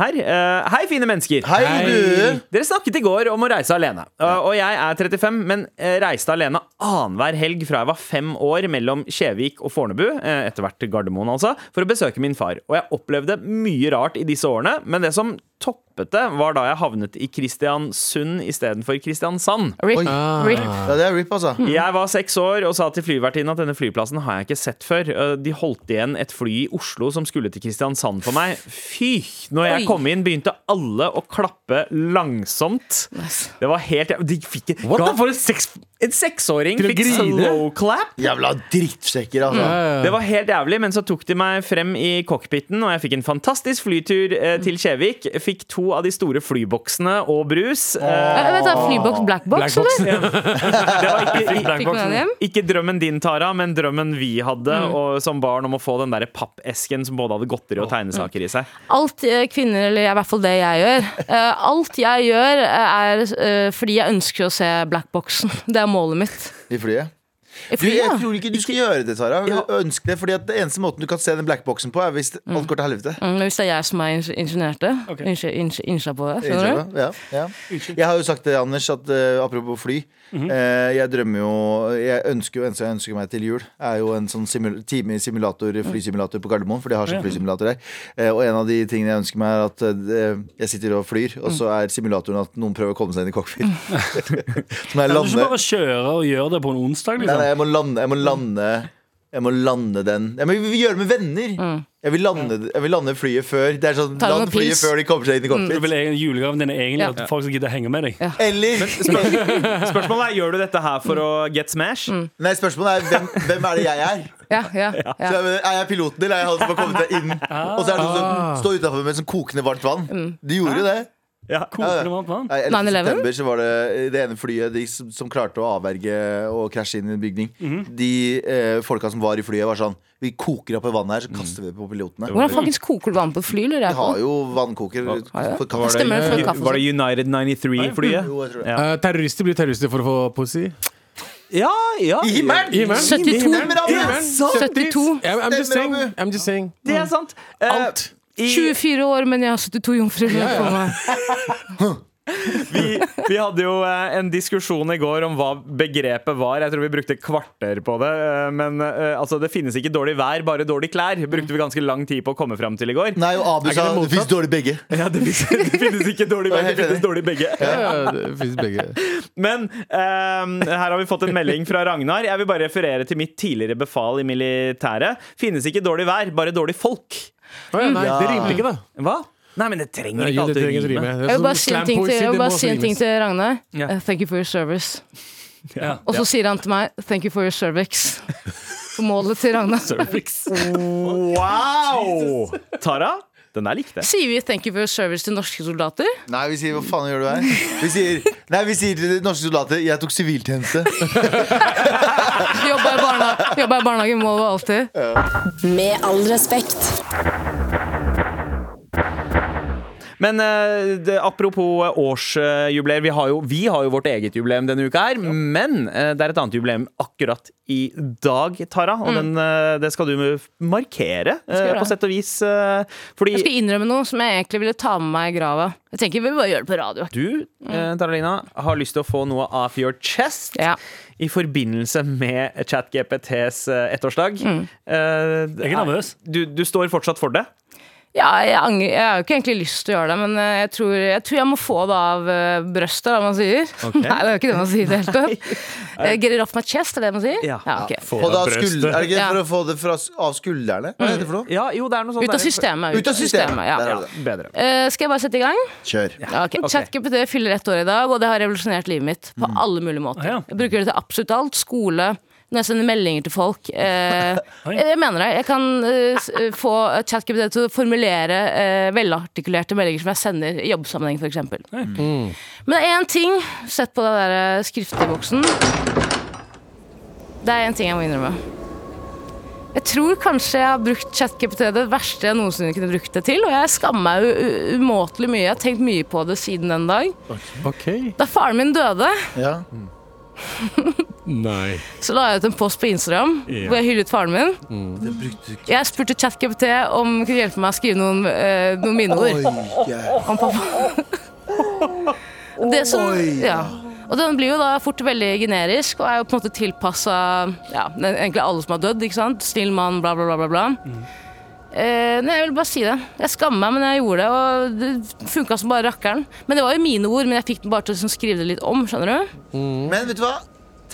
B: her. Eh, hei, fine mennesker!
C: Hei, du!
B: Dere snakket i går om å reise alene. Eh, og jeg er 35, men eh, reiste alene annenhver helg fra jeg var fem år mellom Kjevik og Fornebu, eh, etter hvert til Gardermoen altså, for å besøke min far. Og jeg opplevde mye rart i disse årene, men det som toppet det, var da jeg havnet i Kristiansund istedenfor Kristiansand.
A: Rip.
E: Ah.
A: Rip.
C: Ja, det er rip, altså.
B: Jeg var seks år og sa til flyvertinnen at denne flyplassen har jeg ikke sett før. Eh, De holdt igjen et fly i Oslo som skulle til Kristiansand for meg. Fy! Når jeg
A: Oi.
B: kom inn, begynte alle å klappe langsomt. Det var helt De fikk
E: What
B: ga-
E: the fuck? Seks...
B: En seksåring
E: Til å
B: fikk
E: grine?
B: slow clap.
C: Jævla drittsekker, altså.
B: Det var helt jævlig, men så tok de meg frem i cockpiten, og jeg fikk en fantastisk flytur eh, til Kjevik. Fikk to av de store flyboksene og brus. Eh,
A: Eh, Vet du, Flybox black box, eller?
B: Det var ikke,
A: Fikk man den hjem?
B: Ikke drømmen din, Tara, men drømmen vi hadde og, som barn om å få den der pappesken som både hadde godteri og tegnesaker i seg.
A: Alt eh, kvinner, eller i hvert fall det jeg gjør eh, Alt jeg gjør eh, er eh, fordi jeg ønsker å se blackboxen. Det er målet mitt.
C: I flyet.
B: eh,
C: Du, jeg
A: I flyet, ja.
C: tror ikke du skal gjøre det, Tara. Ønsk det, fordi at det eneste måten du kan se den blackboxen på, er hvis alt går til helvete.
A: Mm, Hvis det er jeg som er ing- ingeniert det.
D: Ok.
A: Inge- inge- Innsja på det. Skjønner du?
C: Ja, ja. Jeg har jo sagt det, Anders, at eh, apropos fly eh, Jeg drømmer jo Jeg ønsker jo eneste jeg ønsker meg til jul, er jo en sånn simul time i simulator,
A: Mm.
C: flysimulator på Gardermoen, for de har sånn flysimulator der. Eh, og en av de tingene jeg ønsker meg, er at eh, jeg sitter og flyr,
A: Mm.
C: og så er simulatoren at noen prøver å komme seg inn i cockpit. Som jeg
D: Kan du ikke
C: lander
D: bare kjøre og gjøre det på en onsdag?
C: Nei, nei,
D: Liksom?
C: jeg må lande, jeg må lande jeg må lande den Jeg må gjøre det med venner! Jeg, vil lande, jeg vil lande flyet før. Det er sånn,
A: Mm. Ta noen
C: Land flyet
A: pils.
C: før de kommer seg inn i
D: Du
A: Mm.
C: cockpit.
D: vil egentlig- Julegaven din er egentlig
A: Ja.
D: at folk skal gidde å henge med deg.
C: Eller
B: Spørsmålet er, Gjør du dette her for å get smash?
C: Nei, spørsmålet er hvem, hvem er det jeg er?
A: Ja, ja, ja.
C: Så jeg mener, er jeg piloten, eller er jeg han som har kommet seg inn? Og så er det noen som står utafor med sånn kokende varmt vann.
A: Mm.
C: De gjorde jo det.
D: Kokende varmt vann.
C: Nei, 11.
A: 9/11?
C: september så var det det ene flyet de som, som klarte å avverge og krasje inn i en bygning. De eh, folka som var i flyet, var sånn Vi koker opp i vannet her, så kaster vi det på pilotene.
A: Hvordan fuckings koker du vann på et fly? lurer
C: Vi
A: jeg på?
C: har jo vannkoker. For
A: Det
C: kaffe.
A: Stemmer det for kaffe? sånn.
B: Var det United 93-flyet?
C: Jo, jeg tror det.
B: Ja.
E: Eh, terrorister blir terrorister for å få pussy.
B: Ja, ja.
C: I himmelen!
E: Himmelen.
A: 72.
C: Stemmer, Abu!
E: Himmelen.
A: 72.
E: I'm, I'm just saying.
C: Stemmer, Abu.
E: I'm just saying.
B: Det er sant. Eh,
E: Alt.
B: i-
A: 24 år, men jeg har 72 jomfruer. på meg.
B: vi, vi hadde jo eh, en diskusjon i går om hva begrepet var. Jeg tror vi brukte kvarter på det. eh, Men eh, altså, det finnes ikke dårlig vær, bare dårlig klær. Brukte vi ganske lang tid på å komme fram til i går.
C: Nei, og Abu
E: ikke
C: sa
E: det
C: det fins
E: motsatt?
C: dårlig begge.
B: Ja, det, finnes, det finnes ikke dårlig vær, det finnes dårlig begge.
E: Ja, ja, det finnes begge.
A: Mm.
B: Men ehm, her har vi fått en melding fra Ragnar. Jeg vil bare referere til mitt tidligere befal i militæret. Finnes ikke dårlig vær, bare dårlig folk.
E: Å ja, nei, det rimte ikke, da.
B: Hva? Nei, men det trenger
E: Nei,
B: ikke
E: det
B: alltid
E: trenger ikke rime.
B: rime.
E: Det er
A: Jeg vil bare
E: sånn
A: si en ting
E: slampoesi,
A: til, jeg vil
E: det må
A: bare si en
E: også
A: ting
E: rimes.
A: til Ragnar.
B: Ja.
A: Eh, Thank you for your service.
D: Ja.
A: Og så sier han til meg 'thank you for your cervix'. Målet til Ragnar.
B: Wow! Tara, den der likte jeg.
A: Sier vi 'thank you for your service' til norske soldater?
C: Nei, vi sier hva faen gjør du her? Vi sier, nei, vi sier til de norske soldater jeg tok siviltjeneste.
A: Jobba i barnehage, jobba i barnehage må det alltid.
G: Med all respekt.
B: Men eh, det, apropos eh, årsjubileer, vi, har jo- vi har jo vårt eget jubileum denne uka her. Men eh, det er et annet jubileum akkurat i dag, Tara. Og den, eh, det skal du markere, eh, på
A: gjøre Mm. det.
B: sett og vis. eh, fordi
A: Jeg skal innrømme noe som jeg egentlig ville ta med meg i grava. Jeg tenker vi bare gjør det på radio.
B: du, eh, Taralina, har lyst til å få noe off your chest
A: Ja.
B: i forbindelse med ChatGPTs eh, ettårsdag. Eh,
D: Jeg er nervøs.
B: Du, du står fortsatt for det?
A: Ja, jeg, angrer, jeg har jo ikke egentlig lyst til å gjøre det, men eh, jeg tror jeg, tror jeg må få det av eh, brøstet, er det man sier. Nei, det er jo ikke det man sier i det hele tatt. Eh, Get it off my chest, er det det man sier?
B: Ja.
A: ok.
C: Og da
D: brøstet.
C: skulder, er det ikke
A: Ja.
C: for å få det fra, av skuldrene? Hva heter det for noe?
B: Ja, jo, det er noe sånt
A: Ut av
B: der.
A: systemet.
C: Ut av systemet!
A: ja.
C: Der er det.
B: Bedre.
A: Eh, skal jeg bare sette i gang?
C: Kjør.
A: Ja, ok. ChatGPT fyller ett år i dag, og det har revolusjonert livet mitt på alle mulige måter.
D: Ah, ja.
A: Jeg bruker det til absolutt alt. Skole. Når jeg sender meldinger til folk. Eh,
D: Oi.
A: jeg mener det. Jeg kan eh, s- eh, få ChatGPT til å formulere eh, velartikulerte meldinger som jeg sender i jobbsammenheng, f.eks. Men det er én ting Sett på den der eh, skriftboksen. Det er én ting jeg må innrømme. Jeg tror kanskje jeg har brukt ChatGPT det verste jeg noensinne kunne brukt det til. Og jeg skammer meg u- u- umåtelig mye. Jeg har tenkt mye på det siden den dag.
E: OK.
A: Da faren min døde,
C: Ja.
E: Nei.
A: så la jeg ut en post på Instagram hvor jeg hyllet faren min. Jeg spurte ChatGPT om hun kunne hjelpe meg å skrive noen, eh, noen minneord.
C: Oi, yeah.
A: om pappa. Det som,
C: Oi.
A: ja. Og den blir jo da fort veldig generisk, og er jo på en måte tilpassa ja, den- egentlig alle som har dødd. ikke sant? Snill mann, bla, bla, bla. bla, bla. Eh, nei, jeg vil bare si det. Jeg skammer meg, men jeg gjorde det. Og det funka som bare rakkeren. Men det var jo mine ord, men jeg fikk den bare til å liksom skrive det litt om. skjønner du?
C: Men vet du hva?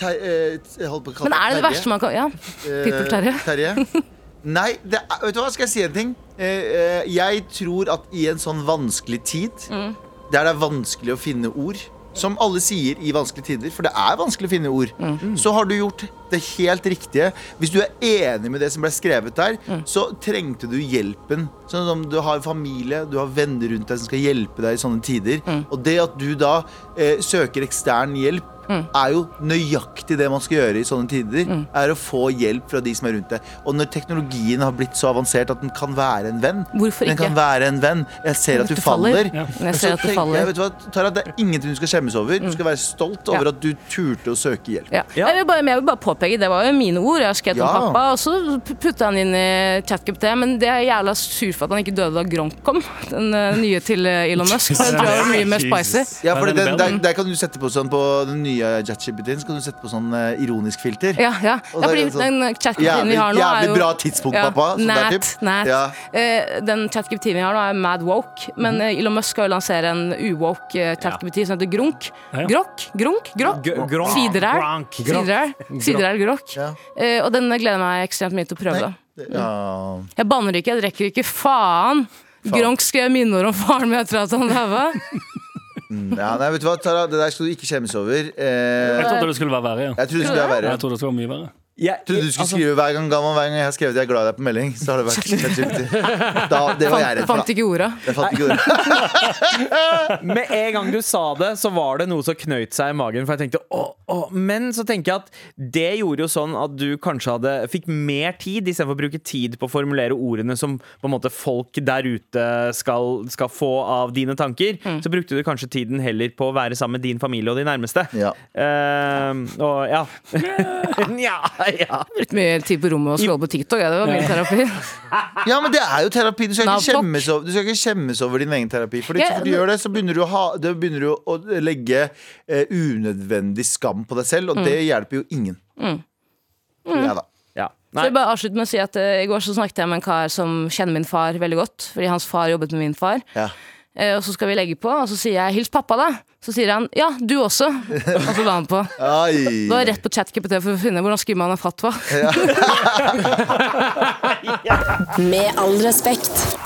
C: Ter, eh, jeg holdt på å kalle
A: Men er det det
C: Terje.
A: verste man kan Ja. Pitbull Terje.
C: Eh, Nei, det er, vet du hva, skal jeg si en ting? Eh, eh, jeg tror at i en sånn vanskelig tid,
A: Mm.
C: der det er vanskelig å finne ord, som alle sier i vanskelige tider, for det er vanskelig å finne ord,
A: Mm.
C: så har du gjort det helt riktige. Hvis du er enig med det som ble skrevet der,
A: Mm.
C: så trengte du hjelpen. Sånn som du har familie, du har venner rundt deg som skal hjelpe deg i sånne tider.
A: Mm.
C: Og det at du da eh, søker ekstern hjelp,
A: Mm.
C: er jo nøyaktig det man skal gjøre i sånne tider. Er å få hjelp fra de som er rundt deg. Og når teknologien har blitt så avansert at den kan være en venn
A: Hvorfor
C: Den kan
A: ikke?
C: være en venn. Jeg ser at du
A: du faller.
C: faller.
A: Ja. Jeg
C: Men
A: ser
C: så
A: at du
C: tenker
A: faller.
C: jeg, Vet du hva, Tara, det er ingenting du skal skjemmes over. Du skal være stolt over
A: Ja.
C: at du turte å søke hjelp.
A: Ja. Jeg, vil bare, men jeg vil bare påpeke, det var jo mine ord. Jeg har skrevet
C: Ja.
A: om pappa, og så putta han inn i ChatGPT. Men det er jeg jævla sur for at han ikke døde da Gronk kom. Den eh, nye til eh, Elon Musk. Det tror jeg var mye mer spicy.
C: Ja, for
D: Ja, den
C: den, der,
D: vennen.
C: der kan du sette på sånn på den nye ChatGPT-en Skal du sette på sånn eh, ironisk filter.
A: Ja, ja.
C: Og
A: ja
C: det er
A: fordi
C: en sånn
A: den ChatGPT-en
C: Jævlig,
A: vi har nå, er
C: jævlig
A: jo
C: bra tidspunkt,
A: Ja,
C: pappa. Sånn der
A: nat,
C: typ.
A: nat.
C: Ja. Mhm.
A: Eh, den ChatGPT-en vi har nå, er mad woke. Men eh, Elon Musk skal jo lansere en uwoke eh, ChatGPT som heter Grunk.
D: Ja, ja.
A: Grokk, Grunk, Grokk.
B: G- gronk.
A: Sideræl.
B: Gronk.
A: Sideræl, Sideræl Grokk.
C: Ja.
A: Eh, og den gleder jeg meg ekstremt mye til å prøve.
C: Nei,
A: da.
C: det- ja.
A: Jeg banner ikke, jeg drikker ikke, faen! Gronk skrev minneord om faren min etter at han daua.
C: Ja, nei, vet du hva, Tara, det der skal du ikke skjemmes over. Eh,
D: Jeg trodde det skulle være verre. Ja.
C: jeg trodde det skulle være verre.
D: Jeg trodde det skulle være mye verre.
B: Jeg-
C: trodde du skulle skrive hver gang Galvan, hver gang jeg har skrevet 'jeg er glad i deg' på melding. Så har det vært ChatGPT. Da, det var jeg
A: Fant,
C: redd for.
A: fant
C: da.
A: ikke orda.
C: Jeg fant ikke ordet.
B: Med en gang du sa det, så var det noe som knøyt seg i magen. For jeg tenkte, åh, åh. Men så tenker jeg at det gjorde jo sånn at du kanskje hadde, fikk mer tid, istedenfor å bruke tid på å formulere ordene som på en måte folk der ute skal, skal få av dine tanker.
A: Mm.
B: Så brukte du kanskje tiden heller på å være sammen med din familie og de nærmeste.
C: Ja.
B: Eh, og ja. Nja, ja.
A: Brukt mye tid på rommet og scrolle på TikTok. Ja, det var min terapi.
C: ja, men det er jo terapi. Du skal ikke
A: Nav-blokk.
C: skjemmes over, du skal ikke skjemmes over din egen terapi. For
A: Jeg-
C: når du gjør det, så begynner du å, ha, da begynner du å legge eh, unødvendig skam på deg selv, og det
A: Mm.
C: hjelper jo ingen. Ja da.
B: ja.
A: Så
B: Nei.
A: jeg bare avslutte med å si at eh, I går så snakket jeg med en kar som kjenner min far veldig godt. Fordi hans far jobbet med min far.
C: Ja.
A: Eh, og så skal vi legge på, og så sier jeg 'hils pappa', da. Så sier han 'ja, du også'. Og så la han på.
C: Ai.
A: Da var jeg rett på ChatGPT for å finne hvordan skriver man en fatwa.
G: Med all respekt.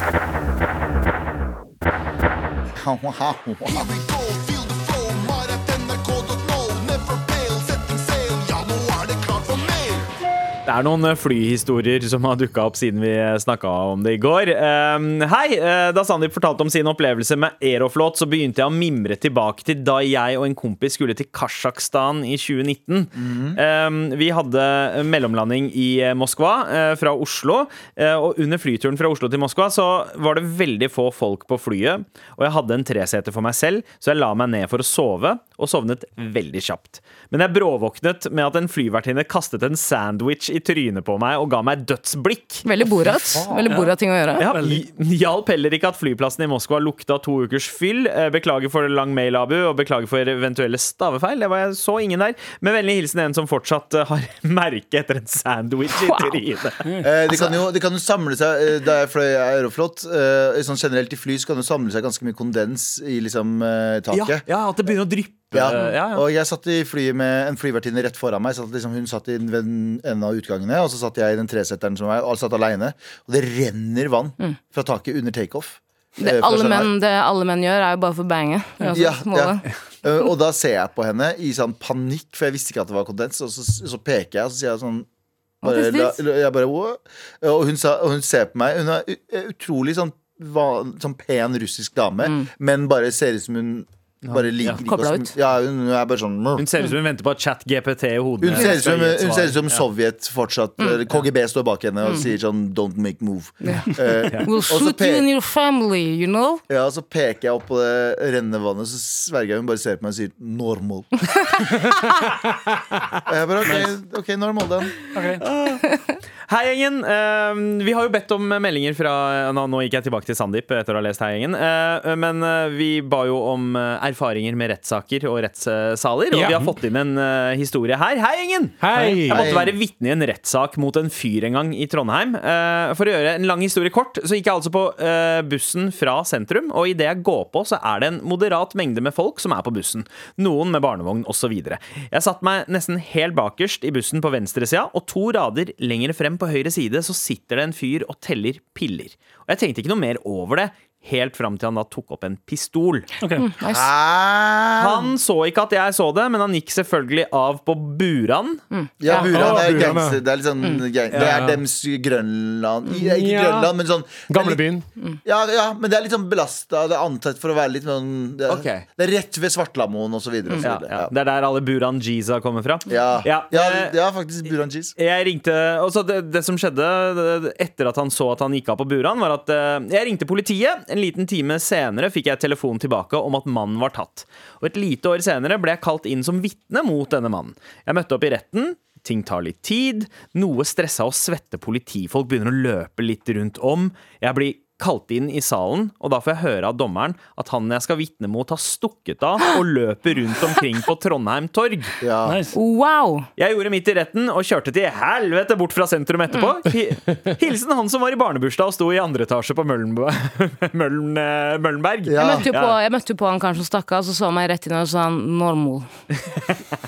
B: Det er noen eh, flyhistorier som har dukka opp siden vi snakka om det i går. Ehm, hei! eh, Da Sandeep fortalte om sin opplevelse med Aeroflot, så begynte jeg å mimre tilbake til da jeg og en kompis skulle til Kasjokstan i 2019. Ehm, vi hadde mellomlanding i eh, Moskva eh, fra Oslo, eh, og under flyturen fra Oslo til Moskva så var det veldig få folk på flyet, og jeg hadde en treseter for meg selv, så jeg la meg ned for å sove, og sovnet veldig kjapt. Men jeg bråvåknet med at en flyvertinne kastet en sandwich i trynet på meg og ga meg dødsblikk.
A: Veldig Borat. Veldig Borat-ting å gjøre.
B: Ja, hj- Hjalp heller ikke at flyplassen i Moskva lukta to ukers fyll. Eh, Beklager for lang mail, Abu, og beklager for eventuelle stavefeil. Det var jeg så ingen der. Med vennlig hilsen en som fortsatt eh, har merke etter en sandwich i trynet.
C: Eh,
A: Altså-
C: de, kan jo, de kan jo samle seg eh, Da jeg fløy Aeroflot, eh, sånn generelt i fly, så kan det samle seg ganske mye kondens i liksom, eh,
B: Ja,
C: taket.
B: ja, at det begynner å dryppe.
C: Ja.
B: Eh, ja, ja.
C: Og jeg satt i flyet med en flyvertinne rett foran meg. Satt, liksom, hun satt i den- ved en av utgangene, og så satt jeg i den tresetteren som var, og alle satt alene Og det renner vann fra taket under takeoff.
A: Mm. Det
C: eh, fra
A: alle
C: Shanghai.
A: menn, det alle menn gjør, er jo bare for å bange. Det er altså
C: Ja, ja.
A: målet.
C: Eh, Og da ser jeg på henne i sånn panikk, for jeg visste ikke at det var kondens. Og så, så peker jeg, og så sier jeg sånn bare,
A: What is this?
C: la- la- Jeg bare «What?» Og hun, sa, og hun ser på meg. Hun er u- eh, utrolig sånn, van, sånn pen russisk dame, men bare ser ut som hun bare liker ikke
A: Mm. Koblet
C: oss.
A: ut.
C: Ja, hun, hun er bare sånn
B: Hun ser ut som hun venter på at chat-GPT i hodet.
C: hun ser, ut som,
B: skal gi et
C: hun ser ut
B: svar.
C: som Sovjet fortsatt. eller KGB står bak henne og sier sånn 'don't make move'. Eh,
A: We'll
C: så
A: shoot you
C: pe-
A: and your family, you know?
C: ja, og så peker jeg opp på det rennende vannet, så sverger jeg hun bare ser på meg og sier 'normal'. og jeg bare OK, ok, normal den.
B: Hei, gjengen. Eh, vi har jo bedt om meldinger fra Nå, nå gikk jeg tilbake til Sandeep etter å ha lest Hei, gjengen. Eh, men eh, vi ba jo om eh, erfaringer med rettssaker og rettssaler, og
E: Ja.
B: vi har fått inn en eh, historie her. Hei, gjengen!
E: Hei!
B: Jeg måtte
C: Hei.
B: være vitne i en rettssak mot en fyr en gang i Trondheim. Eh, for å gjøre en lang historie kort, så gikk jeg altså på eh, bussen fra sentrum, og idet jeg går på, så er det en moderat mengde med folk som er på bussen. Noen med barnevogn osv. Jeg satte meg nesten helt bakerst i bussen på venstresida, og to rader lenger frem på høyre side så sitter det en fyr og teller piller. Og jeg tenkte ikke noe mer over det, helt fram til han da tok opp en pistol.
D: Ok.
C: Ah,
B: Han så ikke at jeg så det, men han gikk selvfølgelig av på buran.
C: ja, Buran
E: Ah,
C: er
E: Buran, ja.
C: gangster. Det er litt sånn gang- Det er dems Grønland I- Ikke
E: Ja.
C: Grønland, men sånn
E: Gamlebyen.
C: Ja, ja, men det er litt sånn belasta. Det er ansett for å være litt sånn Det,
B: Ok.
C: det er rett ved Svartlamoen og så videre. Og så
B: Ja,
C: videre.
B: Mm. ja.
C: Ja.
B: Det er der alle Buran Jiza kommer fra.
C: Ja. Ja.
B: Ja, eh,
C: det er faktisk Buran Cheese.
B: Jeg ringte, altså det, det som skjedde det- etter at han så at han gikk av på Buran, var at eh, jeg ringte politiet. En liten time senere fikk jeg telefon tilbake om at mannen var tatt. Og et lite år senere ble jeg kalt inn som vitne mot denne mannen. Jeg møtte opp i retten. Ting tar litt tid. Noe stressa og svette politifolk begynner å løpe litt rundt om. Jeg blir kalt inn i salen, og da får jeg høre av dommeren at han jeg skal vitne mot, har stukket av og løper rundt omkring på Trondheim torg.
C: Ja.
D: Nice.
A: Wow!
B: Jeg gjorde mitt i retten og kjørte til helvete bort fra sentrum etterpå. Hi- Hilsen han som var i barnebursdag og sto i andre etasje på Møllenba Møllen, eh, Møllenberg.
A: Jeg
C: Ja.
A: møtte jo på, jeg møtte jo på han karen som stakk av, så så han meg rett i øynene og sa han 'normal'.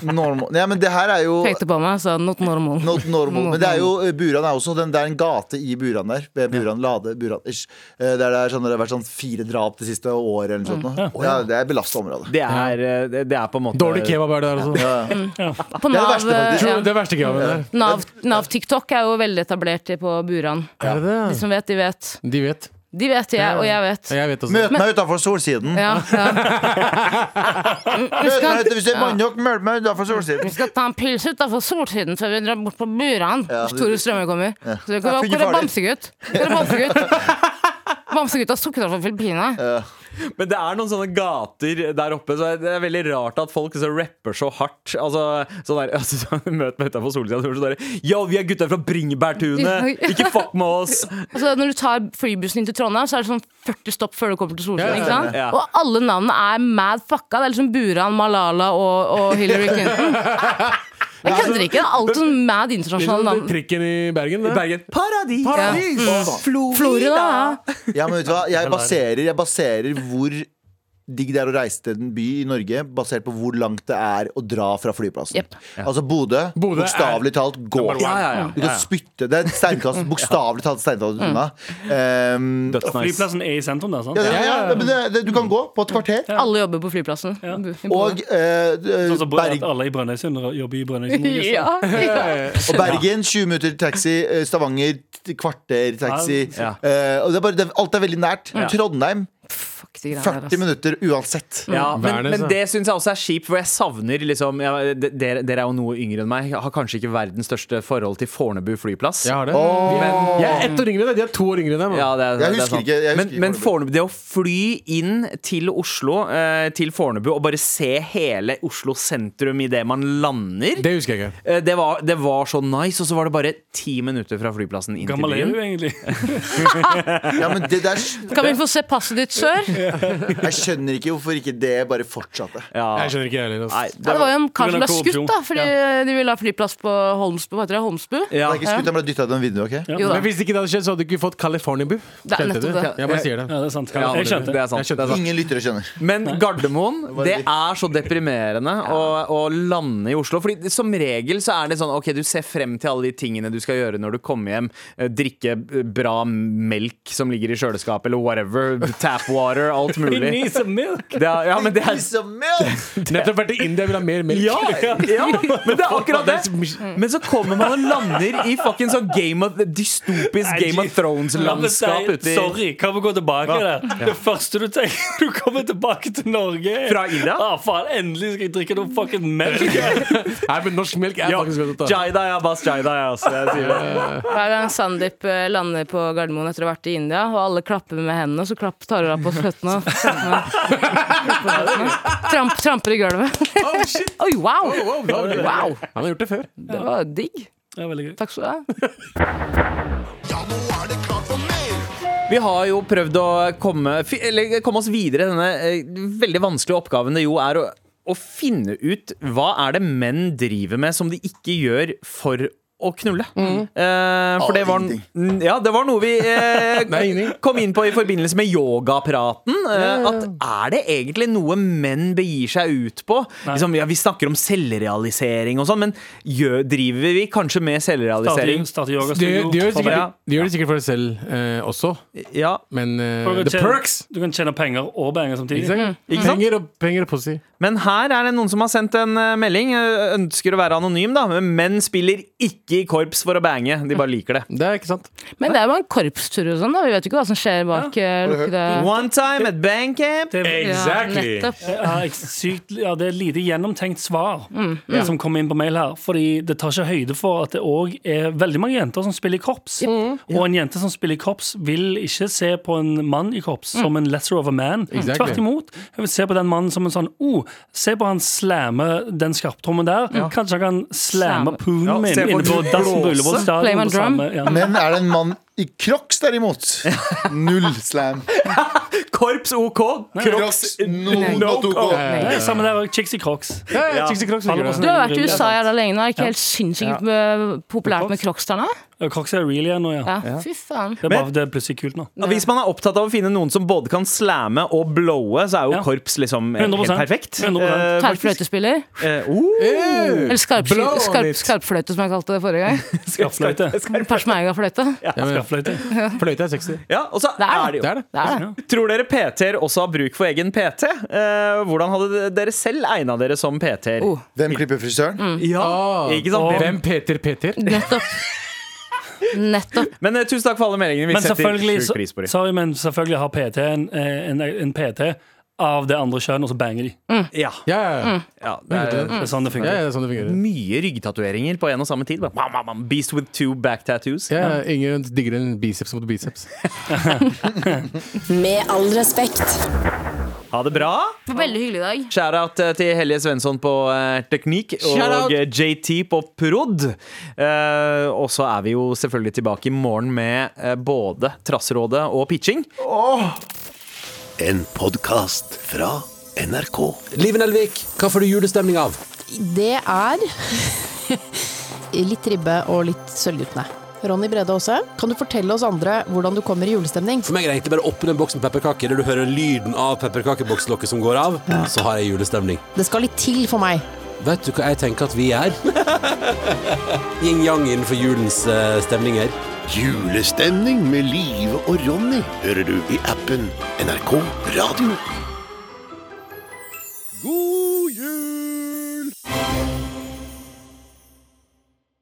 C: Normal. Ja, men det her er jo
A: Pekte på meg og sa 'not normal'.
C: Not normal. Men det er jo eh, Buran er også den, Det er en gate i Buran der. Ved Buran Lade. Buran, ish, eh, der det, er sånn, det har vært sånn fire drap det siste året eller noe sånt. nå. Mm. Ja, det er belasta område.
B: Det er, eh, det er på en måte
E: Dårlig kebab er det der også.
A: På
C: det er det
A: Nav,
C: verste, faktisk.
E: Tror
A: ja.
E: du Det er verste kebaben der.
A: Nav, Nav TikTok er jo veldig etablert på Buran.
E: Er det
A: De
E: det?
A: som vet, de vet.
E: De vet.
A: De vet jeg, og jeg vet.
E: Jeg vet også.
C: Møt meg utafor Solsiden.
A: Ja, ja. Mm,
C: Møt meg
A: Eh, skal-
C: ute, hvis det er mannjokk, møt meg utafor Solsiden.
A: Vi skal ta en pils utafor Solsiden før vi drar bort på Buran.
C: Ja.
A: Tore Strømme kommer. Så vi
C: Ja,
A: kan,
C: fy,
A: hvor er
C: farlig.
A: Bamsegutt? Hvor er Bamsegutt? Bamsegutt har stukket av fra Filippinene.
B: Men det er noen sånne gater der oppe, så det er veldig rart at folk så rapper så hardt. Altså, sånn der, altså, så Møt meg utafor solsida, så er det sånn der, Yo, vi er gutta fra Bringebærtunet! Ikke fuck med oss!
A: Altså, når du tar flybussen inn til Trondheim, så er det sånn 40 stopp før du kommer til Solsiden.
E: Ja,
A: ikke sant?
B: ja.
A: Og alle navnene er mad fucka. Det er liksom Buran, Malala og, og Hillary Clinton. Jeg kødder ikke. Det er alltid sånn mad internasjonale
E: Liksom,
A: navn.
E: Trikken i Bergen, det.
B: Bergen. Paradis!
A: Paradis.
B: Florida!
A: Florida.
C: Ja, men vet du hva? Jeg baserer, jeg baserer hvor digg det er å reise til en by i Norge, basert på hvor langt det er å dra fra flyplassen.
A: Jep.
C: Altså Bodø,
E: Bodø er-
C: bokstavelig talt, gå.
B: Ja, ja, ja.
C: Du kan spytte. Det er en steinkast, bokstavelig talt steinkast unna. Um,
B: Dødsnice.
D: Flyplassen er i sentrum der, sant?
C: Ja, ja, ja, men det, det, du kan gå på et kvarter.
A: Alle jobber på flyplassen.
C: Og, eh,
D: Sånn som
C: Berg,
D: at alle i Brønnøysund jobber i Brønnøysund. ikke sant?
A: ja, ja.
C: og Bergen, 20 minutter taxi. eh, Stavanger, t- kvarter taxi.
B: Ja.
C: Eh, og det er bare, det, alt er veldig nært. Trondheim,
A: heftig greier.
C: 40
A: ass.
C: minutter uansett.
E: Mm.
B: Ja, men,
E: Værnes,
B: men
E: ja.
B: det syns jeg også er kjipt, for jeg savner liksom ja, de- Dere dere er jo noe yngre enn meg. Jeg har kanskje ikke verdens største forhold til Fornebu flyplass.
E: Jeg har det.
C: Åh.
E: Jeg er ett år yngre enn deg. De er to år yngre enn deg. mann.
B: Ja, det er,
C: Jeg
B: det er
C: husker
B: sant.
C: ikke- jeg husker
B: men,
C: ikke
B: men
C: Fornebu.
B: Fornebu, det å fly inn til Oslo, eh, til Fornebu, og bare se hele Oslo sentrum idet man lander
E: Det husker jeg ikke.
B: eh, det, var, det var så nice, og så var det bare ti minutter fra flyplassen inn til
D: gammel er
B: byen.
D: du egentlig?
C: Ja, men det der,
A: Kan vi få se passet ditt, sør?
C: jeg skjønner ikke hvorfor ikke det bare fortsatte.
B: Ja.
E: Jeg skjønner ikke, jeg heller.
B: Nei,
E: ass.
A: Ja, det var jo en kar som
D: grunn av
A: ble skutt,
D: korrupsjon.
A: da, fordi de ville ha flyplass på Holmsbu. Hva heter det? Holmsbu?
B: ja.
C: Det er ikke skutt, han ble dytta ut av en vindu, OK?
A: Jo da.
E: Men hvis ikke det hadde skjedd, så hadde du ikke fått California Boo.
A: Det er
E: Kjente du?
A: nettopp det.
E: Jeg bare sier det.
D: Ja, det er sant.
B: Ja,
D: Jeg skjønte.
B: Det er sant.
E: Jeg skjønte.
B: Det er sant.
C: Ingen lyttere skjønner.
B: Men Gardermoen,
C: var
B: det
C: litt-
B: er så deprimerende å, å lande i Oslo. Fordi som regel så er det sånn Ok, du ser frem til alle de tingene du skal gjøre når du kommer hjem. Eh, Drikke eh, bra melk som ligger i kjøleskapet, eller whatever. Tap water, alt
D: We
B: mulig.
D: need some milk!
B: Det er, ja, men det er
C: Piece of milk!
E: Nettopp vært i India, vil ha mer melk.
B: ja, ja, men det er akkurat det! Men så kommer man og lander i fucking sånn Game of, dystopisk Game of Thrones-landskap ute i
D: Sorry, kan vi gå tilbake der? Det første du tenker når du kommer tilbake til Norge er-
B: Fra India?
D: Ah, faen, endelig skal jeg drikke noe fucking melk!
E: Nei, men norsk melk er
B: Ja,
E: faktisk godt å ta.
B: Jaida, ja, Abbas Jaida, ja, altså. Jeg sier det.
A: Hver gang Sandeep eh, lander på Gardermoen etter å ha vært i India, og alle klapper med hendene, så klapp, tar hun av på føttene. føttene. Tramp, tramper i gulvet.
E: Oh, shit. Oh,
A: Oi, wow!
E: Wow, da var det-
A: Wow.
E: Han har gjort det før.
A: Det var digg.
D: Det er veldig gøy.
A: Takk skal du ha.
B: Vi har jo prøvd å komme, fi- eller komme oss videre i denne eh, veldig vanskelige oppgaven det jo er å, å finne ut hva er det menn driver med som de ikke gjør for å knulle. Eh, for det var,
C: Å,
B: n- ja, det var noe vi eh,
E: Nei, ingenting.
B: kom inn på i forbindelse med yogapraten. Eh, at er det egentlig noe menn begir seg ut på? Liksom, ja, vi snakker om selvrealisering og sånn, men gjør, driver vi kanskje med
D: Starte,
B: selvrealisering?
D: starte
E: De,
D: yogastudio.
E: de, gjør det
D: for
E: sikkert,
D: meg.
E: de gjør det sikkert for seg selv eh, også,
B: Ja,
E: men eh,
D: Du kan
E: the
D: tjene-
E: perks!
D: Du kan tjene penger og penger samtidig.
E: Ikke sant?
B: Ikke sant?
E: Penger og, penger og pussy.
B: Men her er det noen som har sendt en eh, melding. eh, Ønsker å være anonym, da. Men menn spiller ikke i korps for å bange. De bare liker det.
E: Det er ikke sant.
A: Men det er jo en korpstur og sånn, da. Vi vet jo ikke hva som skjer bak eh, lukkede
B: One time at bang camp.
A: Ja, nettopp.
D: Ja, jeg- sykt, ja, det er et lite gjennomtenkt svar
A: Mm,
D: som kommer inn på mail her. Fordi det tar ikke høyde for at det òg er veldig mange jenter som spiller i korps.
B: Mm,
D: Og en jente som spiller i korps, vil ikke se på en mann i korps
A: Mm.
D: som en lesser of a man.
E: Exactly.
D: Tvert imot. Jeg vil se på den mannen som en sånn oh, Se på han slamme den skarptrommen der. Kanskje han kan slamme
A: Slamme.
D: poonen
B: Ja,
D: min
B: se på
D: inne på
B: de
D: dassen på
B: blåse.
D: Ullevål
A: Play my
D: stadion. på
A: drum.
D: samme- Ja.
C: Men er det en mann i crocs, derimot? Null slam.
B: Korps OK.
C: Crocs, no, not ok.
D: Det er samme der òg. Chicks i crocs.
E: Ja, ja, Chixi Crocs liker
D: Alle
E: det.
D: på sin
A: Du har
D: egen
A: vært i
D: grunn.
A: USA jævla lenge nå. Er det ikke helt sinnssykt eh, populært med kroksterne?
D: Ja, Crocs er real igjen nå, ja.
A: Ja, fy faen.
D: Det er bare det er plutselig kult nå.
B: Hvis man er opptatt av å finne noen som både kan slamme og blowe, så er jo
D: Ja.
B: korps liksom eh,
D: 100%.
B: helt perfekt.
D: 100%.
B: Eh, faktisk.
A: Terrfløytespiller.
B: Eh, oh,
A: Eller skarpsky-
E: Blow on
A: skarp,
E: it.
A: skarpfløyte, som jeg kalte det forrige gang.
D: Skarpfløyte.
A: Persmegafløyte.
E: Ja, men
D: Skarpfløyte.
E: Eh, Fløyte er sexy.
B: ja, og så
A: Det er
B: er det
E: Det
B: jo
E: er det.
A: Det er det.
B: Tror dere PT-er også har bruk for egen PT? Eh, hvordan hadde dere selv egna dere som PT-er?
A: Oh.
C: Hvem klipper
B: Mm.
C: frisøren?
E: Ah,
B: Ikke sant?
D: Og-
E: Hvem Peter Peter?
A: Nettopp. Nettopp.
B: Men eh, tusen takk for alle meldingene. Vi
D: Men
B: setter
D: selvfølgelig,
B: sjuk pris på dem.
D: sorry, men selvfølgelig har PT en, eh, en, en PT av det andre kjønn, og så banger de.
B: Ja,
E: Ja, ja, ja.
B: ja, det er,
D: Det er sånn det
E: ja, ja,
D: fungerer.
E: det er sånn det fungerer.
B: mye ryggtatoveringer på en og samme tid. Bare, mam, mam, mam, Beast with two back tattoos.
E: Ja, ja, ingen digger en biceps mot biceps.
G: Med all respekt.
B: Ha det bra!
A: Det var Veldig hyggelig i dag.
B: Shout-out eh, til Helje Svensson på eh, teknikk
E: Shout-out!
B: og eh, JT på prod. Eh, og så er vi jo selvfølgelig tilbake i morgen med eh, både Trassrådet og pitching.
J: En podkast fra NRK.
K: Liven Elvik, hva får du julestemning av?
H: Det er litt ribbe og litt sølvguttene. Ronny Brede Aase, kan du fortelle oss andre hvordan du kommer i julestemning?
K: For meg er det egentlig bare å åpne en boks med pepperkaker, der du hører lyden av pepperkakebokslokket som går av, så har jeg julestemning.
H: Det skal litt til for meg.
K: Vet du hva jeg tenker at vi er? Yin-yang innenfor julens eh, stemninger.
J: Julestemning med Live og Ronny hører du i appen NRK Radio.
E: God jul!